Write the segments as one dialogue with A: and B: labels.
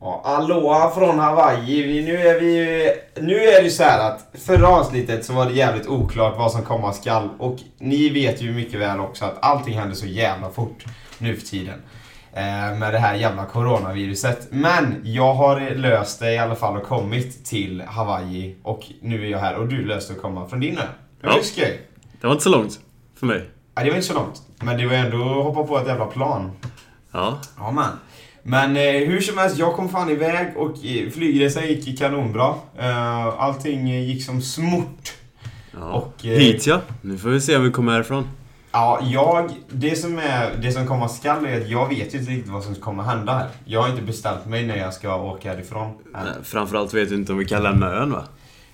A: Ja, aloha från Hawaii. Vi, nu är vi ju- Nu är det ju så här att förra avsnittet så var det jävligt oklart vad som komma skall. Och ni vet ju mycket väl också att allting händer så jävla fort nu för tiden. Eh, med det här jävla coronaviruset. Men jag har löst det i alla fall och kommit till Hawaii. Och nu är jag här och du löste att komma från din ö. Det var
B: Ja.
A: ju skoj.
B: Det var inte så långt för mig.
A: Ja, det var inte så långt. Men det var ändå att hoppa på ett jävla plan.
B: Ja,
A: Ja man. Men eh, hur som helst, jag kom fan iväg och eh, flygresan gick kanonbra. Eh, allting eh, gick som smort.
B: ja.
A: Och, eh,
B: hit ja. Nu får vi se om vi kommer härifrån.
A: Ja, jag... Det som, är, det som komma skall är att jag vet ju inte riktigt vad som kommer hända här. Jag har inte bestämt mig när jag ska åka härifrån. än.
B: Nej, Eh, Framförallt vet vi inte om vi kan lämna ön va?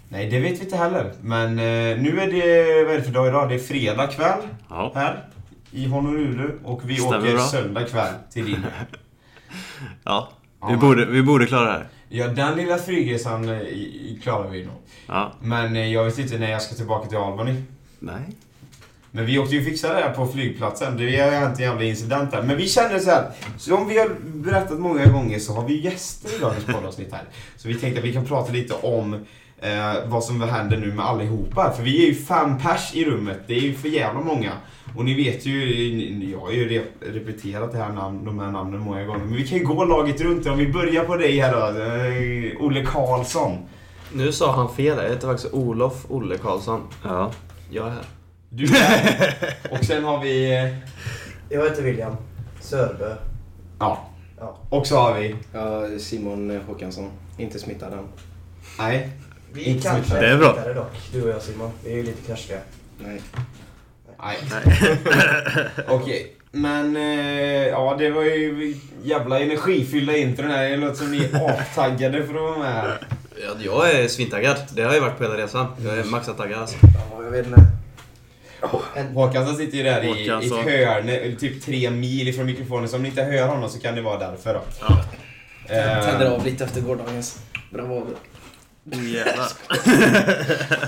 A: Nej, det vet vi inte heller. Men eh, nu är det... Vad är det för dag idag? Det är fredag kväll
B: Ja.
A: här i Honolulu. Och vi
B: Stämmer
A: åker
B: bra.
A: söndag kväll till din
B: ja. Vi,
A: Ja.
B: borde, vi borde klara det här.
A: Ja, den lilla flygresan eh, i- klarar vi nog.
B: Ja.
A: Men eh, jag vet inte när jag ska tillbaka till Albany.
B: Nej.
A: Men vi åkte ju fixa det här på flygplatsen. Det har ju hänt en jävla incident där. Men vi kände så här. Som vi har berättat många gånger så har vi gäster i dagens poddavsnitt här. Så vi tänkte att vi kan prata lite om eh, vad som händer nu med allihopa. För vi är ju fem pers i rummet. Det är ju för jävla många. Och ni vet ju, jag har ju re- repeterat det här namn, de här namnen många gånger. Men vi kan ju gå laget runt. Om vi börjar på dig här då. Eh, Olle Karlsson.
C: Nu sa han fel här. Jag heter faktiskt Olof Olle Karlsson.
B: Ja.
C: Jag är här.
A: Du är här. Och sen har vi... eh,
D: Jag heter William Sörbö.
A: Ja.
D: Ja.
A: Och så har vi...
E: Ja, Simon eh, Håkansson. Inte smittad än.
A: Nej.
D: Vi
A: Inte så
D: kanske
A: mycket.
B: Det är bra.
D: hittade dock, du och jag Simon. Vi är ju lite knarkiga.
E: Nej.
A: Nej. Okej. Men eh, ja, det var ju jävla energifyllda intron här. Det låter som ni är avtaggade för att vara med här.
C: Ja, jag är svintaggad. Det har jag varit på hela resan. Jag är maxat taggad alltså.
D: Ja, jag vet inte.
A: Håkan som sitter ju där i, i ett
B: Håkansson.
A: hörn, typ tre mil ifrån mikrofonen. Så om ni inte hör honom så kan det vara därför då.
B: Ja.
E: Jag tänder
A: Eh,
E: av lite efter gårdagens bravader.
B: Oh, jävlar.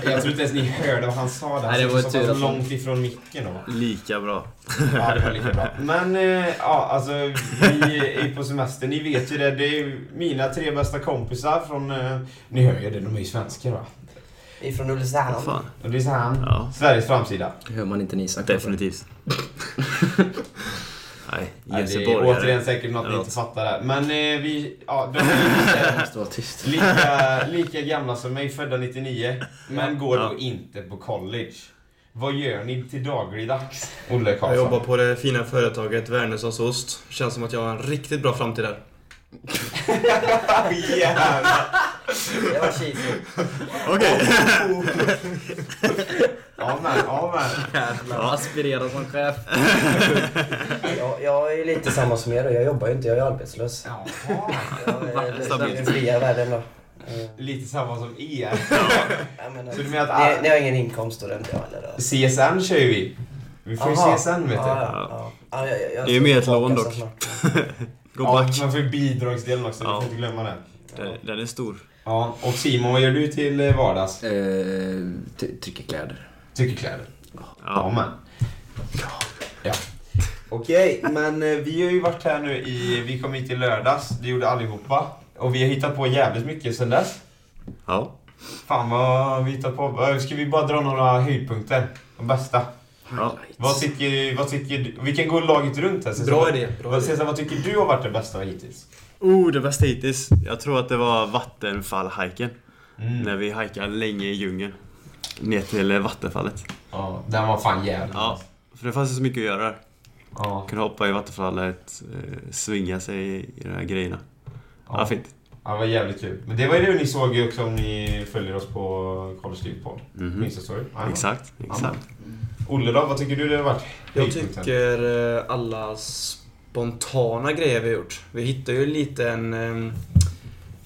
A: jag tror inte ens ni hörde vad han sa där. Han
C: Nej, det
A: sitter
C: var
A: så
C: tur
A: pass
C: att han-
A: långt ifrån micken då.
B: Lika bra.
A: Ja, det var lika bra. Men eh, ja, alltså vi är på semester. Ni vet ju det. Det är ju mina tre bästa kompisar från... Eh, ni hör ju det, de är ju svenskar va?
D: Ifrån Ulricehamn.
B: Vad fan.
A: Och det är så han.
B: Ja.
A: Sveriges framsida.
E: Det hör man inte Nisa.
B: Definitivt. Nej,
A: Ja, det är
B: göteborgare.
A: återigen säkert något ni
B: Eller
A: inte
B: något.
A: fattar där. Men eh, vi... Ja, de är
E: måste vara tyst.
A: lika, lika gamla som mig, födda 99. Men går
B: Ja.
A: då inte på college. Vad gör ni till dagligdags, Olle
C: Jag jobbar
A: Karlsson?
C: på det fina företaget Wernerssons Ost. Känns som att jag har en riktigt bra framtid där.
A: Jävlar.
D: Det var cheesy.
B: Okej.
A: Ja men, ja men.
B: Ja.
C: Aspirerar som chef.
D: Jag, jag är ju lite samma som er då. Jag jobbar ju inte, jag är arbetslös.
A: Jaha.
D: Jag är i
B: Stabilt.
D: den fria världen då. Eh,
A: Lite samma som er.
D: jag menar,
A: Så du menar
D: eh, ni,
A: att
D: ni har ingen inkomst och det har inte jag heller då?
A: CSN kör ju vi. Vi får ju
D: Aha.
A: CSN vet du.
D: Ja, ja, ja. Ja, jag- jag- jag
B: Det är ju mer ett
D: ska tillbaka
B: lån
D: så
B: dock.
D: snart.
B: Gå
A: Ja,
B: back.
A: man får ju bidragsdelen också,
B: Ja.
A: du får inte glömma det.
B: Den, den är stor.
A: Ja, och Simon, vad gör du till eh, vardags?
E: Ehm, trycka kläder.
A: Tycker kläder. Ja,
B: Ja.
A: men. Ja. Okej, men eh, vi har ju varit här nu i... Vi kom hit i lördags, det gjorde allihopa. Och vi har hittat på jävligt mycket sen dess.
B: Ja.
A: Fan vad vi hittat på. Eh, Ska vi bara dra några höjdpunkter? De bästa.
B: ja.
A: Vad tycker, vad tycker du? Vi kan gå laget runt här. Cesar.
C: Bra idé. Bra
A: Vad,
C: idé.
A: Cesar, vad tycker du har varit det bästa hittills?
B: Oh, det bästa hittills. Jag tror att det var vattenfallhajken.
A: Mm.
B: När vi hajkade länge i djungeln. Ner till eh, vattenfallet.
A: Ja, den var fan jävligt
B: Ja. För det fanns ju så mycket att göra där.
A: Ja,
B: Kunna hoppa i vattenfallet, eh, svinga sig i de här grejerna. Ja,
A: ja.
B: fint.
A: ja, det var jävligt kul. Men det var ju det ni såg ju också om ni följer oss på Karl Stryk på.
B: Mhm.
A: Minns du story? Ja.
B: Exakt, exakt.
A: Olle då, vad tycker du det har varit?
C: Jag
A: Höjdpunkten?
C: tycker eh, alla spontana grejer vi har gjort. Vi hittade ju lite en... eh,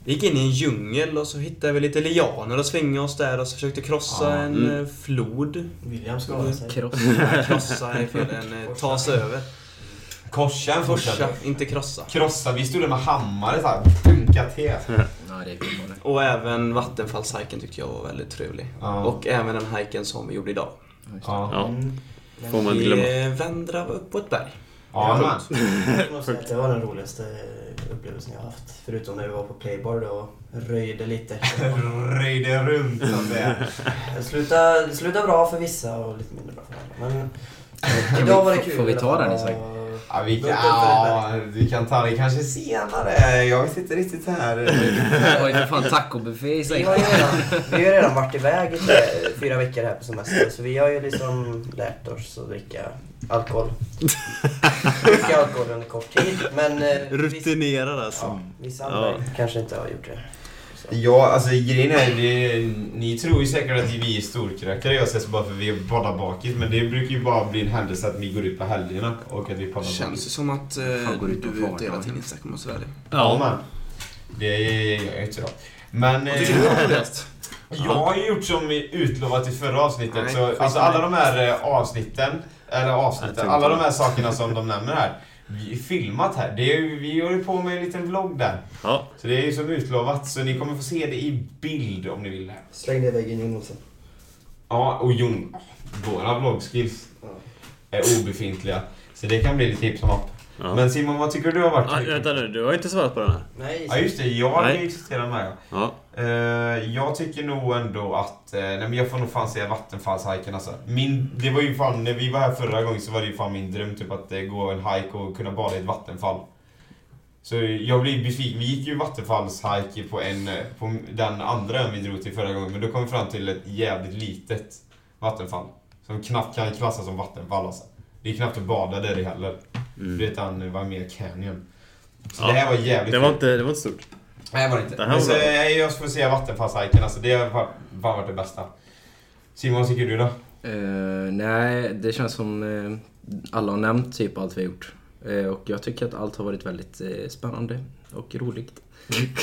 C: Vi gick in i en djungel och så hittade vi lite lianer och svingade oss där och så försökte krossa
A: Ja,
C: en
B: mm.
C: eh, flod. Mm.
D: William ska ha sig.
E: Kross.
C: Nej, krossa är fel. En, eh, ta sig över.
A: Korsen
C: Korsa,
A: fortsatte.
C: inte krossa.
A: Krossa, vi stod där med hammare såhär. Punka till.
E: Nej, det är kul
C: Och även vattenfallshajken tyckte jag var väldigt trevlig.
A: Ja.
C: Och även den hajken som vi gjorde idag.
A: ja.
B: Ja. Får man inte glömma.
C: Vi eh, vändrade upp på ett berg.
A: Ja, man.
D: Jag måste säga att det var den roligaste upplevelsen jag har haft. Förutom när vi var på Playboy då och röjde lite.
A: Röjde runt så att säga.
D: Det slutade, det slutade bra för vissa och lite mindre bra för andra. Men idag var det kul.
E: Får vi ta den, Isak?
A: Ja, vi, kan,
D: Låt den
A: ja, vi kan ta det kanske senare. Jag vet inte riktigt här.
E: Det var ju för fan tacobuffé i sig.
D: Vi har, ju redan, vi har ju redan varit iväg i tre, fyra veckor här på semester så vi har ju liksom lärt oss att dricka alkohol. Dricka alkohol under kort tid men eh, vissa,
B: Rutinerad alltså.
D: ja, vissa andra
B: Ja.
D: kanske inte har gjort det.
A: Ja, alltså grejen är det, ni tror ju säkert att vi är storkräkare jag ses bara för vi är båda bakis. Men det brukar ju bara bli en händelse att ni går ut på helgerna och att vi
C: Det
A: poddar
C: känns
A: bakis.
C: ju som att eh,
E: Fan, går ut och
C: du är
E: fart,
C: ute hela
E: va?
C: tiden Isak, om jag ska vara ärlig.
A: Ja, man. Det är jag är inte då. Men...
C: Vad
A: eh,
C: tycker du är roligast?
A: Jag har ju gjort som utlovat i förra avsnittet.
C: Nej,
A: så,
C: skit
A: alltså
C: i det.
A: alla de här eh, avsnitten, eller
B: Jag tror
A: avsnitten,
B: inte
A: alla
B: det.
A: de här sakerna som de nämner här. Vi filmat här. Det är, ju- vi håller på med en liten vlogg där.
B: Ja.
A: Så det är ju som utlovat. Så ni kommer få se det i bild om ni vill det. här.
D: Släng ner väggen in också.
A: Ja, och Jon. Våra vloggskills är obefintliga. Så det kan bli lite hipp som happ.
B: Ja.
A: Men Simon, vad tycker du har varit?
B: Ah, vänta nu, du har inte svarat på den här.
D: Nej,
A: Ja just det, jag
B: Nej.
A: existerar med.
B: Ja.
A: Eh, jag tycker nog ändå att, eh, nej men jag får nog fan säga vattenfallshajken alltså. Min, det var ju fan, när vi var här förra gången så var det ju fan min dröm typ att eh, gå en hike och kunna bada i ett vattenfall. Så jag blev besviken, vi gick ju vattenfallshike på en, eh, på den andra ön vi drog till förra gången men då kom vi fram till ett jävligt litet vattenfall. Som knappt kan klassas som vattenfall alltså. Det är knappt att bada där i heller.
B: Mm.
A: Utan det var eh, mer canyon. Så
B: Ja.
A: det här var jävligt
B: Det var
A: kul.
B: inte, det var inte stort.
A: Nej, det var det inte.
B: Det här
A: Men
B: var
A: så,
B: bra.
A: eh, jag får säga vattenfallshajken. Alltså, det har va- fan varit det bästa. Simon, vad tycker du då?
E: Eh, nej, det känns som eh, alla har nämnt typ allt vi har gjort. Eh, och jag tycker att allt har varit väldigt eh, spännande och roligt.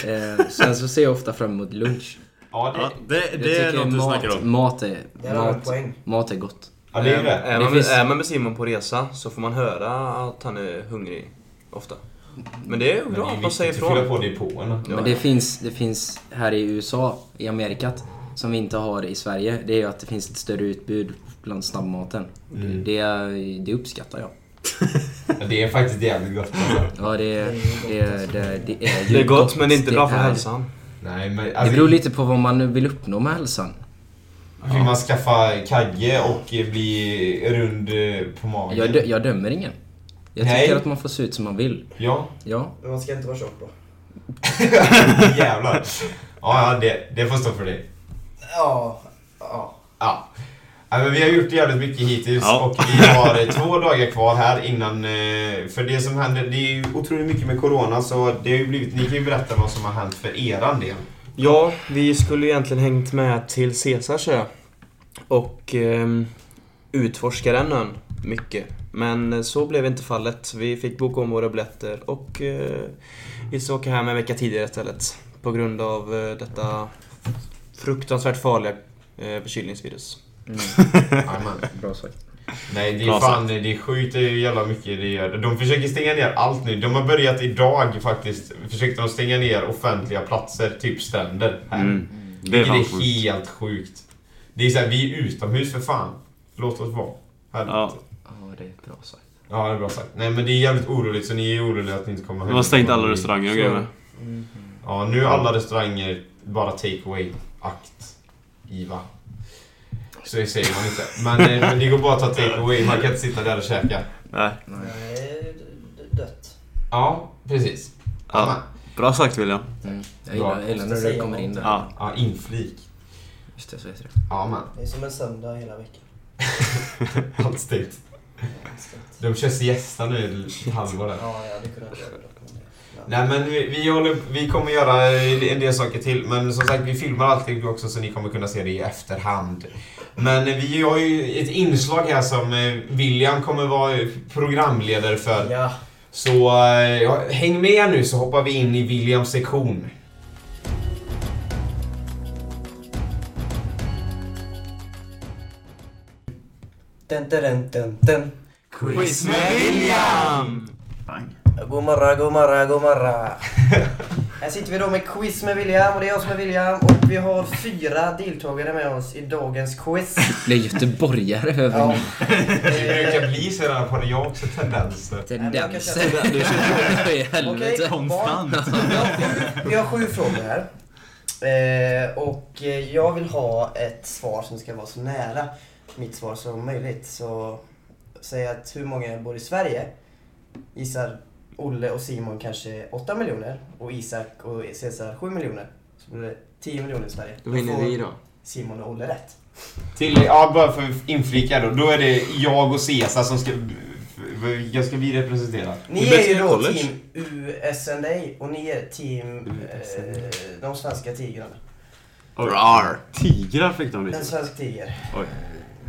E: Eh, sen så ser jag ofta fram emot lunch.
A: Ja, det,
B: Ja, det,
E: Jag
B: det är
E: tycker
B: något du
E: mat,
B: snackar om.
E: Mat är,
D: Där har du en
E: mat,
D: poäng.
E: mat är gott.
A: ja, det är ju
C: Eh,
A: det.
C: Är
E: Det
C: man,
E: finns-
C: är man med Simon på resa så får man höra att han är hungrig ofta. Men det är ju
A: Men det är
C: bra att man
A: viktigt
C: säger
A: att fylla
C: ifrån.
A: på det på en.
E: Men det finns, det finns här i USA, i Amerikat, som vi inte har i Sverige. Det är ju att det finns ett större utbud bland snabbmaten.
A: Mm.
E: Det, det uppskattar jag.
A: Ja, Det är faktiskt jävligt gott. alltså.
E: Ja, det, det, det, det är ju
C: Det är gott men det är inte bra för
E: är-
C: hälsan.
A: Nej, men
E: Det
A: alltså,
E: beror lite på vad man nu vill uppnå med hälsan.
A: Vill man skaffa kagge och eh, bli rund eh, på magen?
E: Jag, dö, jag dömer ingen. Jag
A: Nej.
E: tycker att man får se ut som man vill.
A: Ja,
E: Ja.
D: Men man ska inte vara tjock då.
A: jävlar. Ja, ja det, det får stå för dig.
D: Ja, ja.
A: Ja. Ja, men vi har gjort jävligt mycket hittills
B: Ja.
A: och vi har eh, två dagar kvar här innan... eh, För det som händer, det är ju otroligt mycket med Corona så det har ju blivit... Ni kan ju berätta vad som har hänt för eran del.
C: Ja, vi skulle egentligen hängt med till Caesars ö och ehm, utforska den ön mycket. Men eh, så blev inte fallet. Vi fick boka om våra biljetter och eh, vi ska åka hem en vecka tidigare istället på grund av eh, detta fruktansvärt farliga eh, förkylningsvirus.
A: Jajamän.
E: Bra sagt.
A: Nej, det är
B: Bra
A: fan, det skjuter ju jävla mycket det gör. De försöker stänga ner allt nu. De har börjat idag faktiskt, försökte de stänga ner offentliga platser, typ stränder. Här.
B: Mm.
A: Det
B: Det
A: är,
B: är fan sjukt.
A: helt sjukt. Det är såhär, vi är utomhus för fan. Låt oss vara. Helvete.
B: Ja.
E: Ja, det är bra sagt.
A: Ja, det är bra sagt. Nej men det är jävligt oroligt så ni är oroliga att ni inte kommer
B: De har stängt alla restauranger och grejer med.
A: Ja, nu är alla restauranger bara take away-akt. IVA. Så det säger man inte. Men, eh, men det går bara att ta take away, man kan inte sitta där och käka.
B: Nej.
D: Nej, d- d- dött.
A: Ja, precis.
B: Ja. Bra sagt William.
E: Mm.
A: Bra.
E: Jag gillar, jag gillar när du kommer in där.
B: Ja.
A: Ja, inflik.
E: Just det, så heter det.
A: Ja, man.
D: Det är som en söndag hela veckan.
A: Allt stängt. De kör siesta nu i halva där.
D: Ja, jag hade kunnat göra det.
A: Nej
D: Men
A: men vi, vi, håller, vi kommer göra en del saker till men som sagt vi filmar allting också så ni kommer kunna se det i efterhand. Men vi har ju ett inslag här som eh, William kommer vara programledare för.
D: Ja.
A: Så eh, ja, häng med nu så hoppar vi in i Williams sektion.
D: Dun, dun, dun, dun, dun.
A: Quiz med William!
D: God morgon, god morgon, god morgon. Här sitter vi då med quiz med William och det är jag som är William och vi har fyra deltagare med oss i dagens quiz.
E: Blev göteborgare över
D: Ja.
E: nu.
A: Det brukar bli sådana, har jag också tendenser.
E: Tendenser.
D: Du
E: I
D: Okej,
E: helvete.
D: barn. Vi har sju- Vi har sju frågor här. Eh, och eh, jag vill ha ett svar som ska vara så nära mitt svar som möjligt. Så säg att hur många bor i Sverige? Gissar Olle och Simon kanske 8 miljoner och Isak och Cesar 7 miljoner. Så blir det 10 miljoner i Sverige.
C: Då vinner
D: får
C: vi då.
D: Simon och Olle rätt.
A: Till, ja, bara för att inflika då. Då är det jag och Cesar som ska... Vilka ska vi representera?
D: Ni
B: Det är
D: är ju
B: bäst i
D: då
B: college.
D: team USNA och ni är team eh, de svenska tigrarna.
B: Rar. Tigrar fick de
D: En
B: lite.
D: svensk tiger.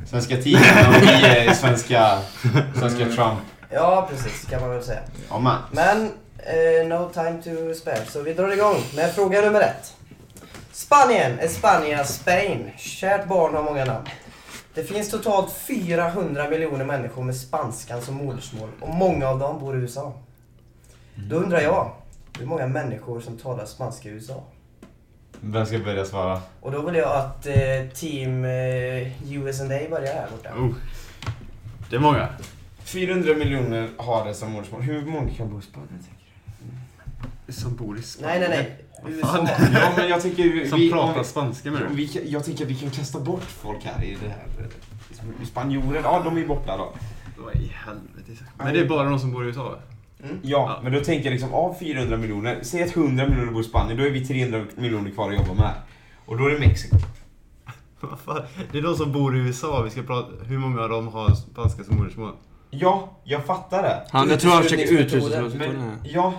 A: Svenska Tigrarna och vi är svenska... Svenska Trump.
D: Ja, precis kan man väl säga.
A: Ja, man.
D: Men eh, no time to spare, så vi drar igång med fråga nummer ett. Spanien, Espania, Spain. Kärt barn har många namn. Det finns totalt 400 miljoner människor med spanskan som modersmål och många av dem bor i USA.
B: Mm.
D: Då undrar jag, hur många människor som talar spanska i USA?
A: Vem ska börja svara?
D: Och då vill jag att eh, team eh, USA börjar här borta.
B: Oh. Det är många.
A: 400 miljoner har det som modersmål. Hur många kan bo i Spanien?
B: Som bor i Spanien.
D: Nej, nej, nej. USA.
B: fan?
A: Ja, men jag tycker vi...
B: Som
A: vi-
B: pratar
A: om-
B: spanska med
A: om
B: du?
A: vi kan- Jag tycker att vi kan kasta bort folk här i det här... eh, Spanjorer, ja de är borta då.
B: Vad i helvete Isak. Men det är bara de som bor i USA va?
A: Ja, men då tänker jag liksom av 400 miljoner, säg att 100 miljoner bor i Spanien, då är vi 300 miljoner kvar att jobba med. Och då är det Mexiko.
B: Vad fan? Det är de som bor i USA. Vi ska prata... Hur många av dem har spanska som modersmål?
A: Ja, jag fattar det.
C: Han, jag tror han försöker
D: Uteslutningsmetoden.
C: uteslutningsmetoden här.
A: Men ja,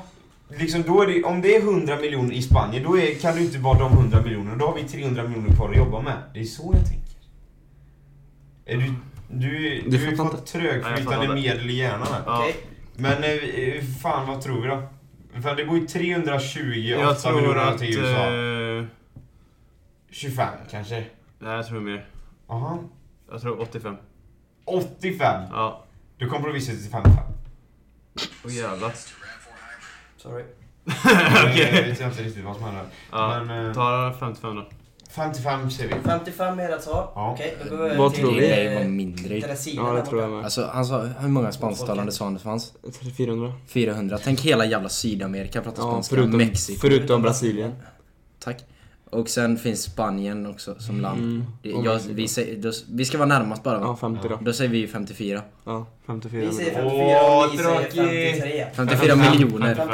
A: liksom då är det, om det är 100 miljoner i Spanien, då är, kan du inte vara de 100 miljonerna. Då har vi 300 miljoner kvar att jobba med. Det är så jag tänker. Är du, du,
C: Du
A: du har ju
C: fattar
A: fått
B: Nej, jag
A: trögflytande
B: fattar inte.
A: medel i hjärnan här.
B: Ja.
D: Okej.
A: Men eh, eh, fan, vad tror vi då? För det går ju 320
B: Jag,
A: jag
B: tror
A: miljoner
B: att...
A: till USA.
B: eh,
A: 25 kanske?
B: Nej, jag tror mer.
A: Aha.
B: Jag tror 85.
A: 85!
B: Ja.
A: Du kompromissar till 55.
B: Åh jävlar.
D: Sorry.
A: Eh, Jag
B: Okej.
A: vet inte riktigt vad som händer.
B: Ja,
A: Men, eh,
B: ta 55 då.
A: 55 säger vi.
D: 55 är rätt svar.
A: Ja.
D: Okej, då går vi
C: Vad
D: till,
C: tror vi?
D: eh,
E: Det var mindre.
D: dressinen
C: Ja,
D: där
C: det tror jag
D: borta.
C: med.
E: Alltså han sa, hur många spansktalande sa han det fanns?
C: 400.
E: 400. Tänk hela jävla Sydamerika pratar
C: Ja,
E: spanska.
C: förutom,
E: Mexiko.
C: förutom Brasilien.
E: Tack. Och sen finns Spanien också som land.
C: Mm.
E: Det,
C: Och
E: jag,
C: Mexiko.
E: vi, säger, då, vi ska vara närmast bara
C: Ja,
E: va?
C: 50 då.
E: Då säger vi 54.
C: Ja, 54.
D: Vi säger 54
A: Åh,
D: och ni säger
A: tråkigt.
D: 53.
E: 54
B: 55.
E: miljoner.
D: 55?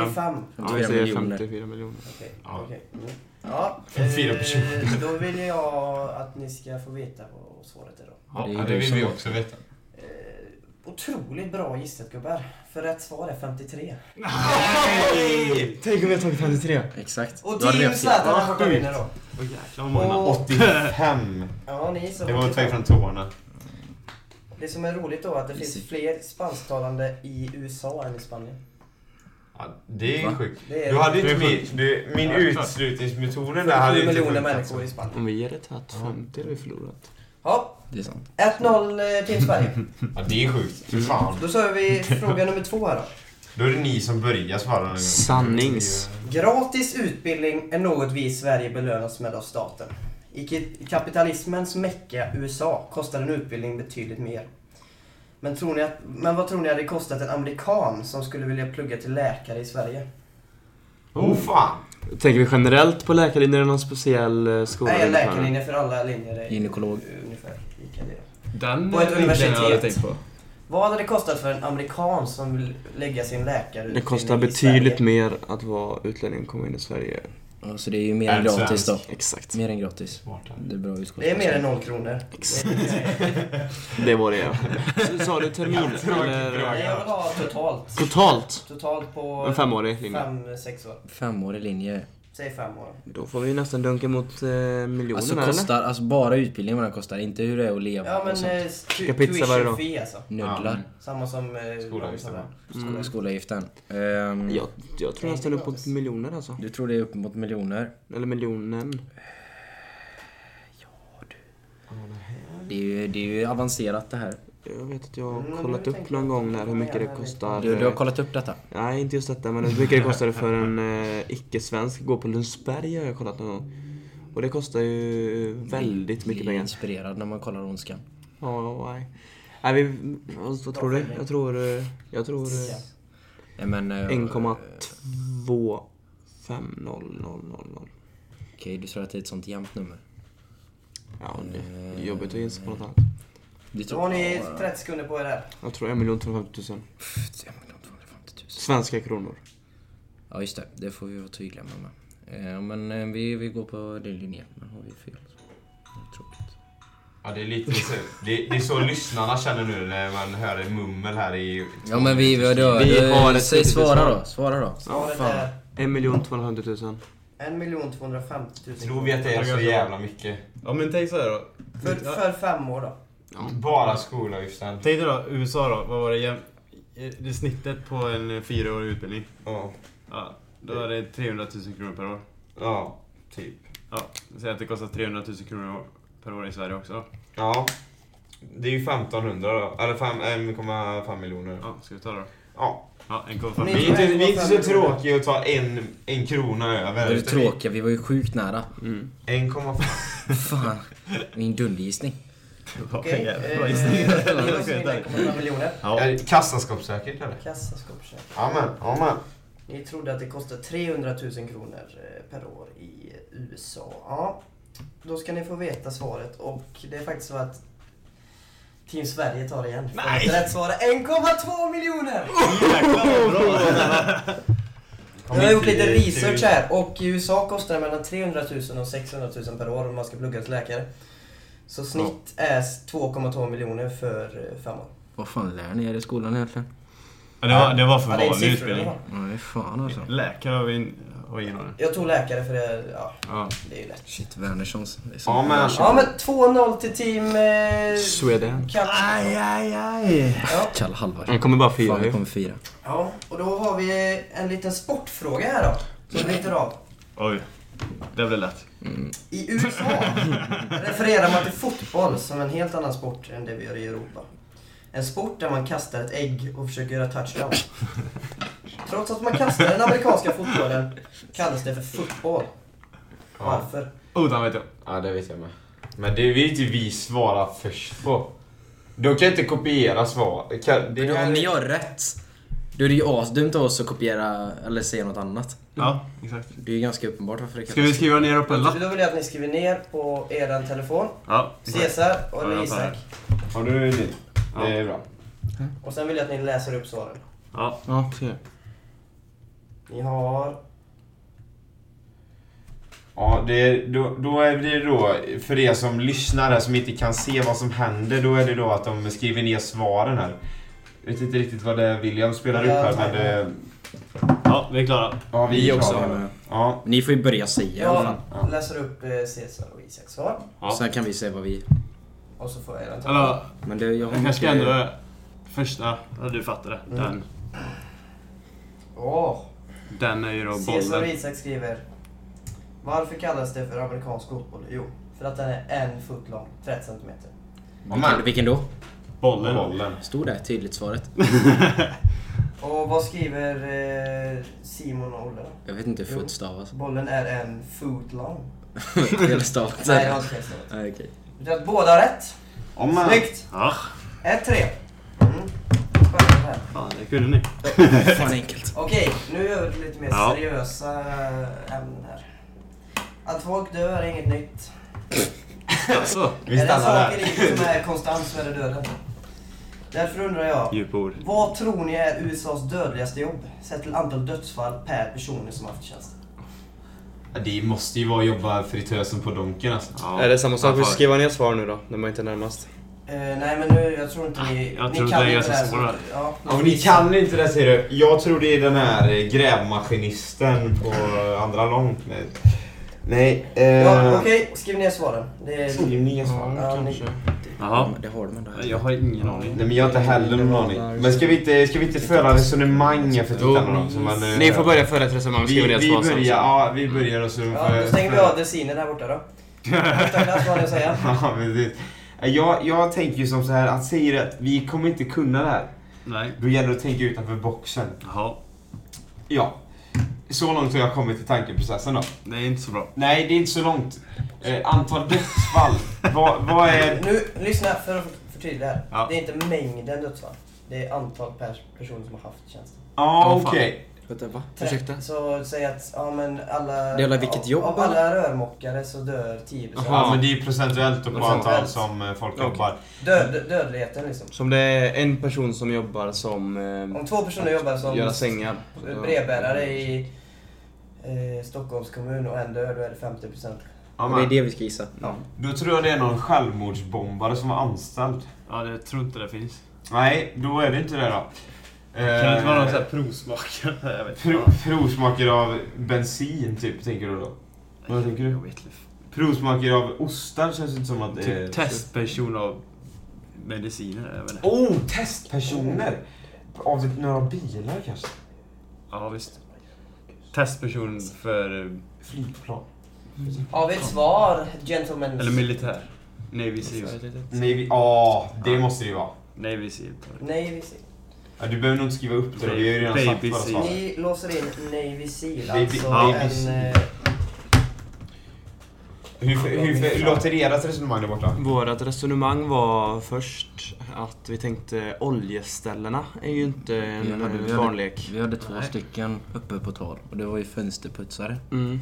C: Ja,
E: 54
C: vi säger
E: miljoner.
C: 54 miljoner.
D: Okej.
A: Ja.
D: okej. Mm. Ja,
A: Fyra
D: eh, då vill jag att ni ska få veta vad svaret är då.
E: Ja, det är
A: Ja, det
E: du
A: vill
E: som-
A: vi också veta.
D: Eh, otroligt bra gissat gubbar. För rätt svar är 53.
C: Tänk om vi har tagit 53.
E: Exakt.
D: Och
E: Då hade vi
D: Team
E: haft
D: Zlatan
B: Ja,
D: är borta
B: sjukt.
D: vinner då.
B: Åh jäklar vad många.
D: Och-
A: 85!
D: Ja, ni gissar
A: Det var
D: 55.
A: två från tårna.
D: Det som är roligt då är att det
E: Easy.
D: finns fler spansktalande i USA än i Spanien.
A: Ja, det är
E: Va?
A: sjukt.
D: Det är
A: Du hade inte
B: Det är
A: min, du, min
B: Ja, klart.
A: utslutningsmetod den där hade
D: 47
A: inte
D: miljoner
A: funkat,
D: människor i
A: alltså.
D: Spanien.
C: Om vi hade tagit 50 hade vi förlorat.
D: Ja,
E: Det är sant.
D: 1-0 eh, Team Sverige.
A: Ja, det är sjukt. Fy fan.
D: Då kör vi fråga nummer två här då.
A: Då är det ni som börjar svara. den här gången.
C: Sannings.
D: Gratis utbildning är något vi i Sverige belönas med av staten. I ki- kapitalismens mecka USA kostar en utbildning betydligt mer. Men, tror ni att, men vad tror ni hade kostat en amerikan som skulle vilja plugga till läkare i Sverige?
A: Oh fan!
C: Tänker vi generellt på läkarlinjen eller någon speciell eh, skola?
D: Nej, en läkarlinje för alla linjer är
E: Gynekolog.
D: ungefär lika det.
B: Den
D: På ett
B: är inte den jag hade
D: universitet.
B: tänkt på.
D: Vad hade det kostat för en amerikan som vill lägga sin läkarutbildning
C: Det kostar
D: i
C: betydligt
D: Sverige?
C: mer att vara utlänning och komma in i Sverige.
E: Ja, Så det är ju mer än
A: En
E: gratis då.
A: svensk.
C: Exakt.
E: Mer än gratis.
A: Smart.
E: Det är bra utskott.
D: Det är mer än noll kronor.
C: Det var det ja. Så- Sa du termin? Eller?
D: Nej, jag vill ha totalt.
C: Totalt?
D: Totalt på
C: En femårig linje.
D: fem, sex år.
E: Femårig linje.
D: Säg fem år.
C: Då får vi nästan dunka mot eh, miljonerna
E: Alltså
C: eller?
E: kostar, alltså bara utbildningen vad den kostar, inte hur det är att leva
D: Ja men
E: och sånt.
D: eh, tu-
C: Käka pizza varje dag.
D: tuition fee alltså.
E: Nödlar.
D: Samma som... Eh,
A: Skolavgiften,
D: vad
A: va?
D: sa du?
E: Mm. Skolavgiften. Ehm,
C: Jag, jag tror
D: Nej,
C: jag ställer upp
D: gratis.
C: mot miljoner alltså.
E: Du tror det är uppemot miljoner?
C: Eller miljonen.
E: Det är ju, det är ju avancerat det här.
C: Jag vet att jag har
D: Mm,
C: kollat
D: nu
C: upp
D: tänker
C: någon
D: jag.
C: gång när hur mycket det kostar.
E: Du, du har
C: eh,
E: kollat upp detta?
C: Nej, inte just detta, men hur mycket det kostade för en eh, icke-svensk att gå på Lundsberg har jag kollat någon gång. Och det kostar ju väldigt mycket
E: Blir
C: pengar.
E: inspirerad när man kollar Ondskan.
C: Ja, nej. Nej, vi, vad tror du? Jag tror... eh, Jag tror... eh,
E: Nej, men, eh,
C: 1,25000.
E: Okej, du tror att det är ett sånt jämnt nummer?
C: Ja, det är
E: Eh,
C: jobbigt att gissa på något annat.
E: Du
D: Då har ni 30 sekunder på er här.
C: Jag tror 1 250 000
E: Pff, ja, men de 250 000.
C: svenska kronor.
E: Ja, just det. Det får vi vara tydliga med. Eh, men eh, vi, vi går på din linje. Men har vi fel så... Det är tråkigt.
A: Ja, det är lite så. Det, det är så lyssnarna känner nu när man hör ett mummel här i...
E: Ja, men vi... vi, då,
C: Vi
E: eh,
C: har ett
E: Säg
C: riktigt
E: svara
C: svar.
E: då. Svara då.
D: Svaret
E: fan.
D: är
C: 1 250 000.
D: 1 250 000
A: Tror vi att det är så jävla mycket?
F: Ja men tänk så här då.
D: För, för fem år då.
A: Bara skolavgiften.
B: Tänk dig då, USA då. Vad var det, jäm... det snittet på en eh, fyraårig utbildning?
A: Ja.
B: Ja, då är det 300 000 kronor per år.
A: Ja, typ.
B: Ja, säg att det kostar 300 000 kronor per år i Sverige också då.
A: Ja. Det är ju 1500 då. Eller fem- 1,5 miljoner.
B: Ja, ska vi ta det då?
A: Ja.
B: Ja,
A: Vi
B: 1,5
A: är inte, vi är inte så tråkiga att ta en, en krona över.
E: Det var ju
A: Utan vi-
E: tråkiga. Vi var ju sjukt nära.
A: 1,5.
E: Fan. Min dundergissning.
D: Okej. eh,
B: miljoner.
D: det var så mycket, 1,5 miljoner.
A: Är det Kassaskåpssäkert eller?
D: Kassaskåpssäkring.
A: Amen, amen.
D: Ni trodde att det kostade 300 000 kronor eh, per år i USA. Ja, då ska ni få veta svaret och det är faktiskt så att Team Sverige tar det igen. För
B: Nej!
D: att Rätt svar är 1,2 miljoner!
B: Jäklar vad bra!
D: Jag har gjort lite research här och i USA kostar det mellan 300 000 och 600 000 per år om man ska plugga till läkare. Så snitt är 2,2 miljoner för eh, fem år.
E: Vad fan lär ni er i skolan egentligen?
B: Ja, det, var, det var för
D: Ja, det är
B: vanlig
D: siffror,
B: utbildning.
D: eller vad?
E: Nej, fan alltså.
B: Läkare har vi in, har ingen aning.
D: Jag tog läkare för det, ja,
B: Ja.
D: det är ju lätt.
E: Shit, Wernerssons. Det är så-
A: Ja men,
D: Ja men 2-0 till team... Eh,
C: Sweden.
D: Kap-
E: aj, aj.
D: Ja.
E: Kalla halvar.
C: Han kommer bara fyra
E: Fan, vi
C: ju.
E: kommer Mm. fyra.
D: Ja, och då har vi en liten sportfråga här då. Som vi tar av.
B: Oj. Det blev lätt.
D: I USA refererar man till fotboll som en helt annan sport än det vi gör i Europa. En sport där man kastar ett ägg och försöker göra touchdown. Trots att man kastar den amerikanska fotbollen kallas det för fotboll. Varför?
B: Oh, den vet jag.
A: ja det vet jag med. Men det vill inte vi svara först på. Då kan jag inte kopiera svar. Kan, det
E: Men
A: kan-
E: om ni har rätt, då är det ju asdumt av oss att kopiera eller säga något annat.
B: Ja, exakt.
E: Det är ju ganska uppenbart varför det
B: Ska vi
E: kallas.
B: skriva ner upp en lapp?
D: Då vill jag att ni skriver ner på er telefon.
B: Ja.
D: Cesar och
B: Ja, jag tar
D: Isak.
A: Har du det? Det är bra.
D: Och sen vill jag att ni läser upp svaren.
B: Ja.
C: Ja, se.
D: Ni har...
A: Ja, det är, då, då är det då, för er som lyssnar här som inte kan se vad som händer, då är det då att de skriver ner svaren här. Jag vet inte riktigt vad det är William spelar upp här, men det,
B: ja, vi är klara.
A: ja, vi,
E: Vi
A: är
E: också.
A: klara. Ja,
E: Ni får ju börja säga i alla fall.
D: Jag läser upp eh, Cesar och Isaks svar.
B: Ja.
E: Sen kan vi säga vad vi...
D: Och så får jag er telefon.
B: Eller,
E: Men det, jag
B: jag
E: har
B: kanske ska
E: mycket-
B: ändra första. Ja, du fattar
D: Mm.
B: det. Den.
D: Åh!
B: Den är ju då
D: Cesar och
B: bollen.
D: Isak skriver Varför kallas det för amerikansk fotboll? Jo, för att den är en fot lång, 30 cm.
A: Amen.
E: Vilken, vilken då?
B: Bollen.
A: bollen.
E: Stod där tydligt svaret.
D: Och vad skriver eh, Simon och Olle då?
E: Jag vet inte hur
D: Jo.
E: foot stavas.
D: Bollen är en fot lång.
E: Fel stavat.
D: Nej, jag har inte förstått.
E: Nej, okej.
D: Det är att båda har rätt.
A: Amen.
D: Snyggt!
B: Ja,
D: 1-3. Mm. Spännande här.
B: fan det kunde ni.
E: Fan enkelt.
D: Okej, nu över till lite mer
B: Ja.
D: seriösa ämnen här. Att folk dör är inget nytt.
B: Alltså,
A: Vi
D: är det en
A: stannar
D: sak i
A: där.
D: livet som är konstant så är det döden. Därför undrar jag,
B: djupa ord.
D: Vad tror ni är USAs dödligaste jobb? Sett till antal dödsfall per personer som haft tjänsten.
A: Ja, Det måste ju vara att jobba fritösen på Donken alltså.
B: Ja.
C: Är det samma sak? Vi
B: Fan,
C: skriver ner svar nu då, när man inte är närmast.
D: Eh, nej men nu, jag tror inte ni...
B: jag
D: ni
B: tror
D: kan
B: det är
D: inte
B: ganska
D: här,
B: svårt
D: så-
B: där.
D: Ja,
A: Ja, men ni kan inte det ser du. Jag tror det är den här eh, grävmaskinisten på andra långt. Nej. Nej. Eh,
D: Ja, Okej, skriv ner svaren. Det är...
A: Skriv ner svaren.
D: Ja, ni-
B: Jaha.
E: Men Det har man där.
B: Jag har ingen aning.
A: Nej men jag har inte heller någon aning. Men ska vi inte, ska vi inte föra resonemang här för tittarna då? Så man, eh,
C: Ni får börja föra ett resonemang,
A: Vi,
C: skriver ner
A: vi
C: svar
A: börjar,
C: sen.
A: ja vi börjar och så
D: ja, då stänger vi av dressinen här borta då. Första klass vad har ni att säga.
A: Ja, precis. Eh, Jag, jag tänker ju som så här, att säger att vi kommer inte kunna det här.
B: Nej.
A: Då gäller det att tänka utanför boxen.
B: Jaha,
A: Ja. Så långt har jag kommit i tankeprocessen då.
B: det är inte så bra.
A: Nej, det är inte så långt. Eh, antal dödsfall. vad, vad är...
D: Nu, lyssna för att förtydliga här.
B: Eh, Ja.
D: Det är inte mängden dödsfall. Det är antal per person som har haft tjänsten.
A: Ja,
B: Åh, fan.
A: okej.
E: Vänta, va?
D: Tre-
E: Ursäkta?
D: Så säg att, ja men alla...
E: Det gäller vilket
D: av,
E: jobb,
D: Av alla rörmokare så dör 10
A: Jaha,
D: personer.
A: men det är procentuellt och på
D: Procentuellt.
A: antal som eh, folk
C: Okej.
A: jobbar.
D: Död, dödligheten liksom.
C: Som det är en person som jobbar som... Eh,
D: Om två personer jobbar som
C: gör sängar.
D: brevbärare i eh, Stockholms kommun och en dör, då är det 50 procent.
A: Ja,
E: det är
A: men,
E: det vi ska gissa.
A: då tror jag det är någon självmordsbombare som var anställd.
B: Ja, det jag tror inte det finns.
A: Nej, då är det inte det då. Eh,
B: Kan det inte vara någon sån här provsmakare? Jag vet
A: Pro,
B: inte.
A: provsmaker av bensin, typ, tänker du då? Vad tänker du?
B: Jag vet inte.
A: Provsmaker av ostar känns inte som att det är...
B: Typ testperson av mediciner. Jag vet inte.
A: Oh, testpersoner! Av typ några bilar kanske?
B: Ja, visst. Testperson för... eh,
A: Flygplan?
D: Har vi ett svar, gentlemen?
B: Eller militär. Navy Seals.
A: Nej, vi- ja, det måste det ju vara.
B: Navy Seals.
D: Nej, vi ser.
A: Ja, du behöver nog inte skriva upp det då, vi har ju redan sagt
B: Baby
A: våra svar.
B: seal.
D: Ni låser in Navy Seal,
A: Baby-
D: alltså
A: Baby
D: en...
A: Seal.
D: Eh,
A: Hur, hur låter ert resonemang där borta?
C: Vårat resonemang var först att vi tänkte oljeställena är ju inte en
E: Vi hade- vi
C: eh,
E: hade-
C: barnlek.
E: Vi hade två stycken uppe på tal och det var ju fönsterputsare
C: Mm.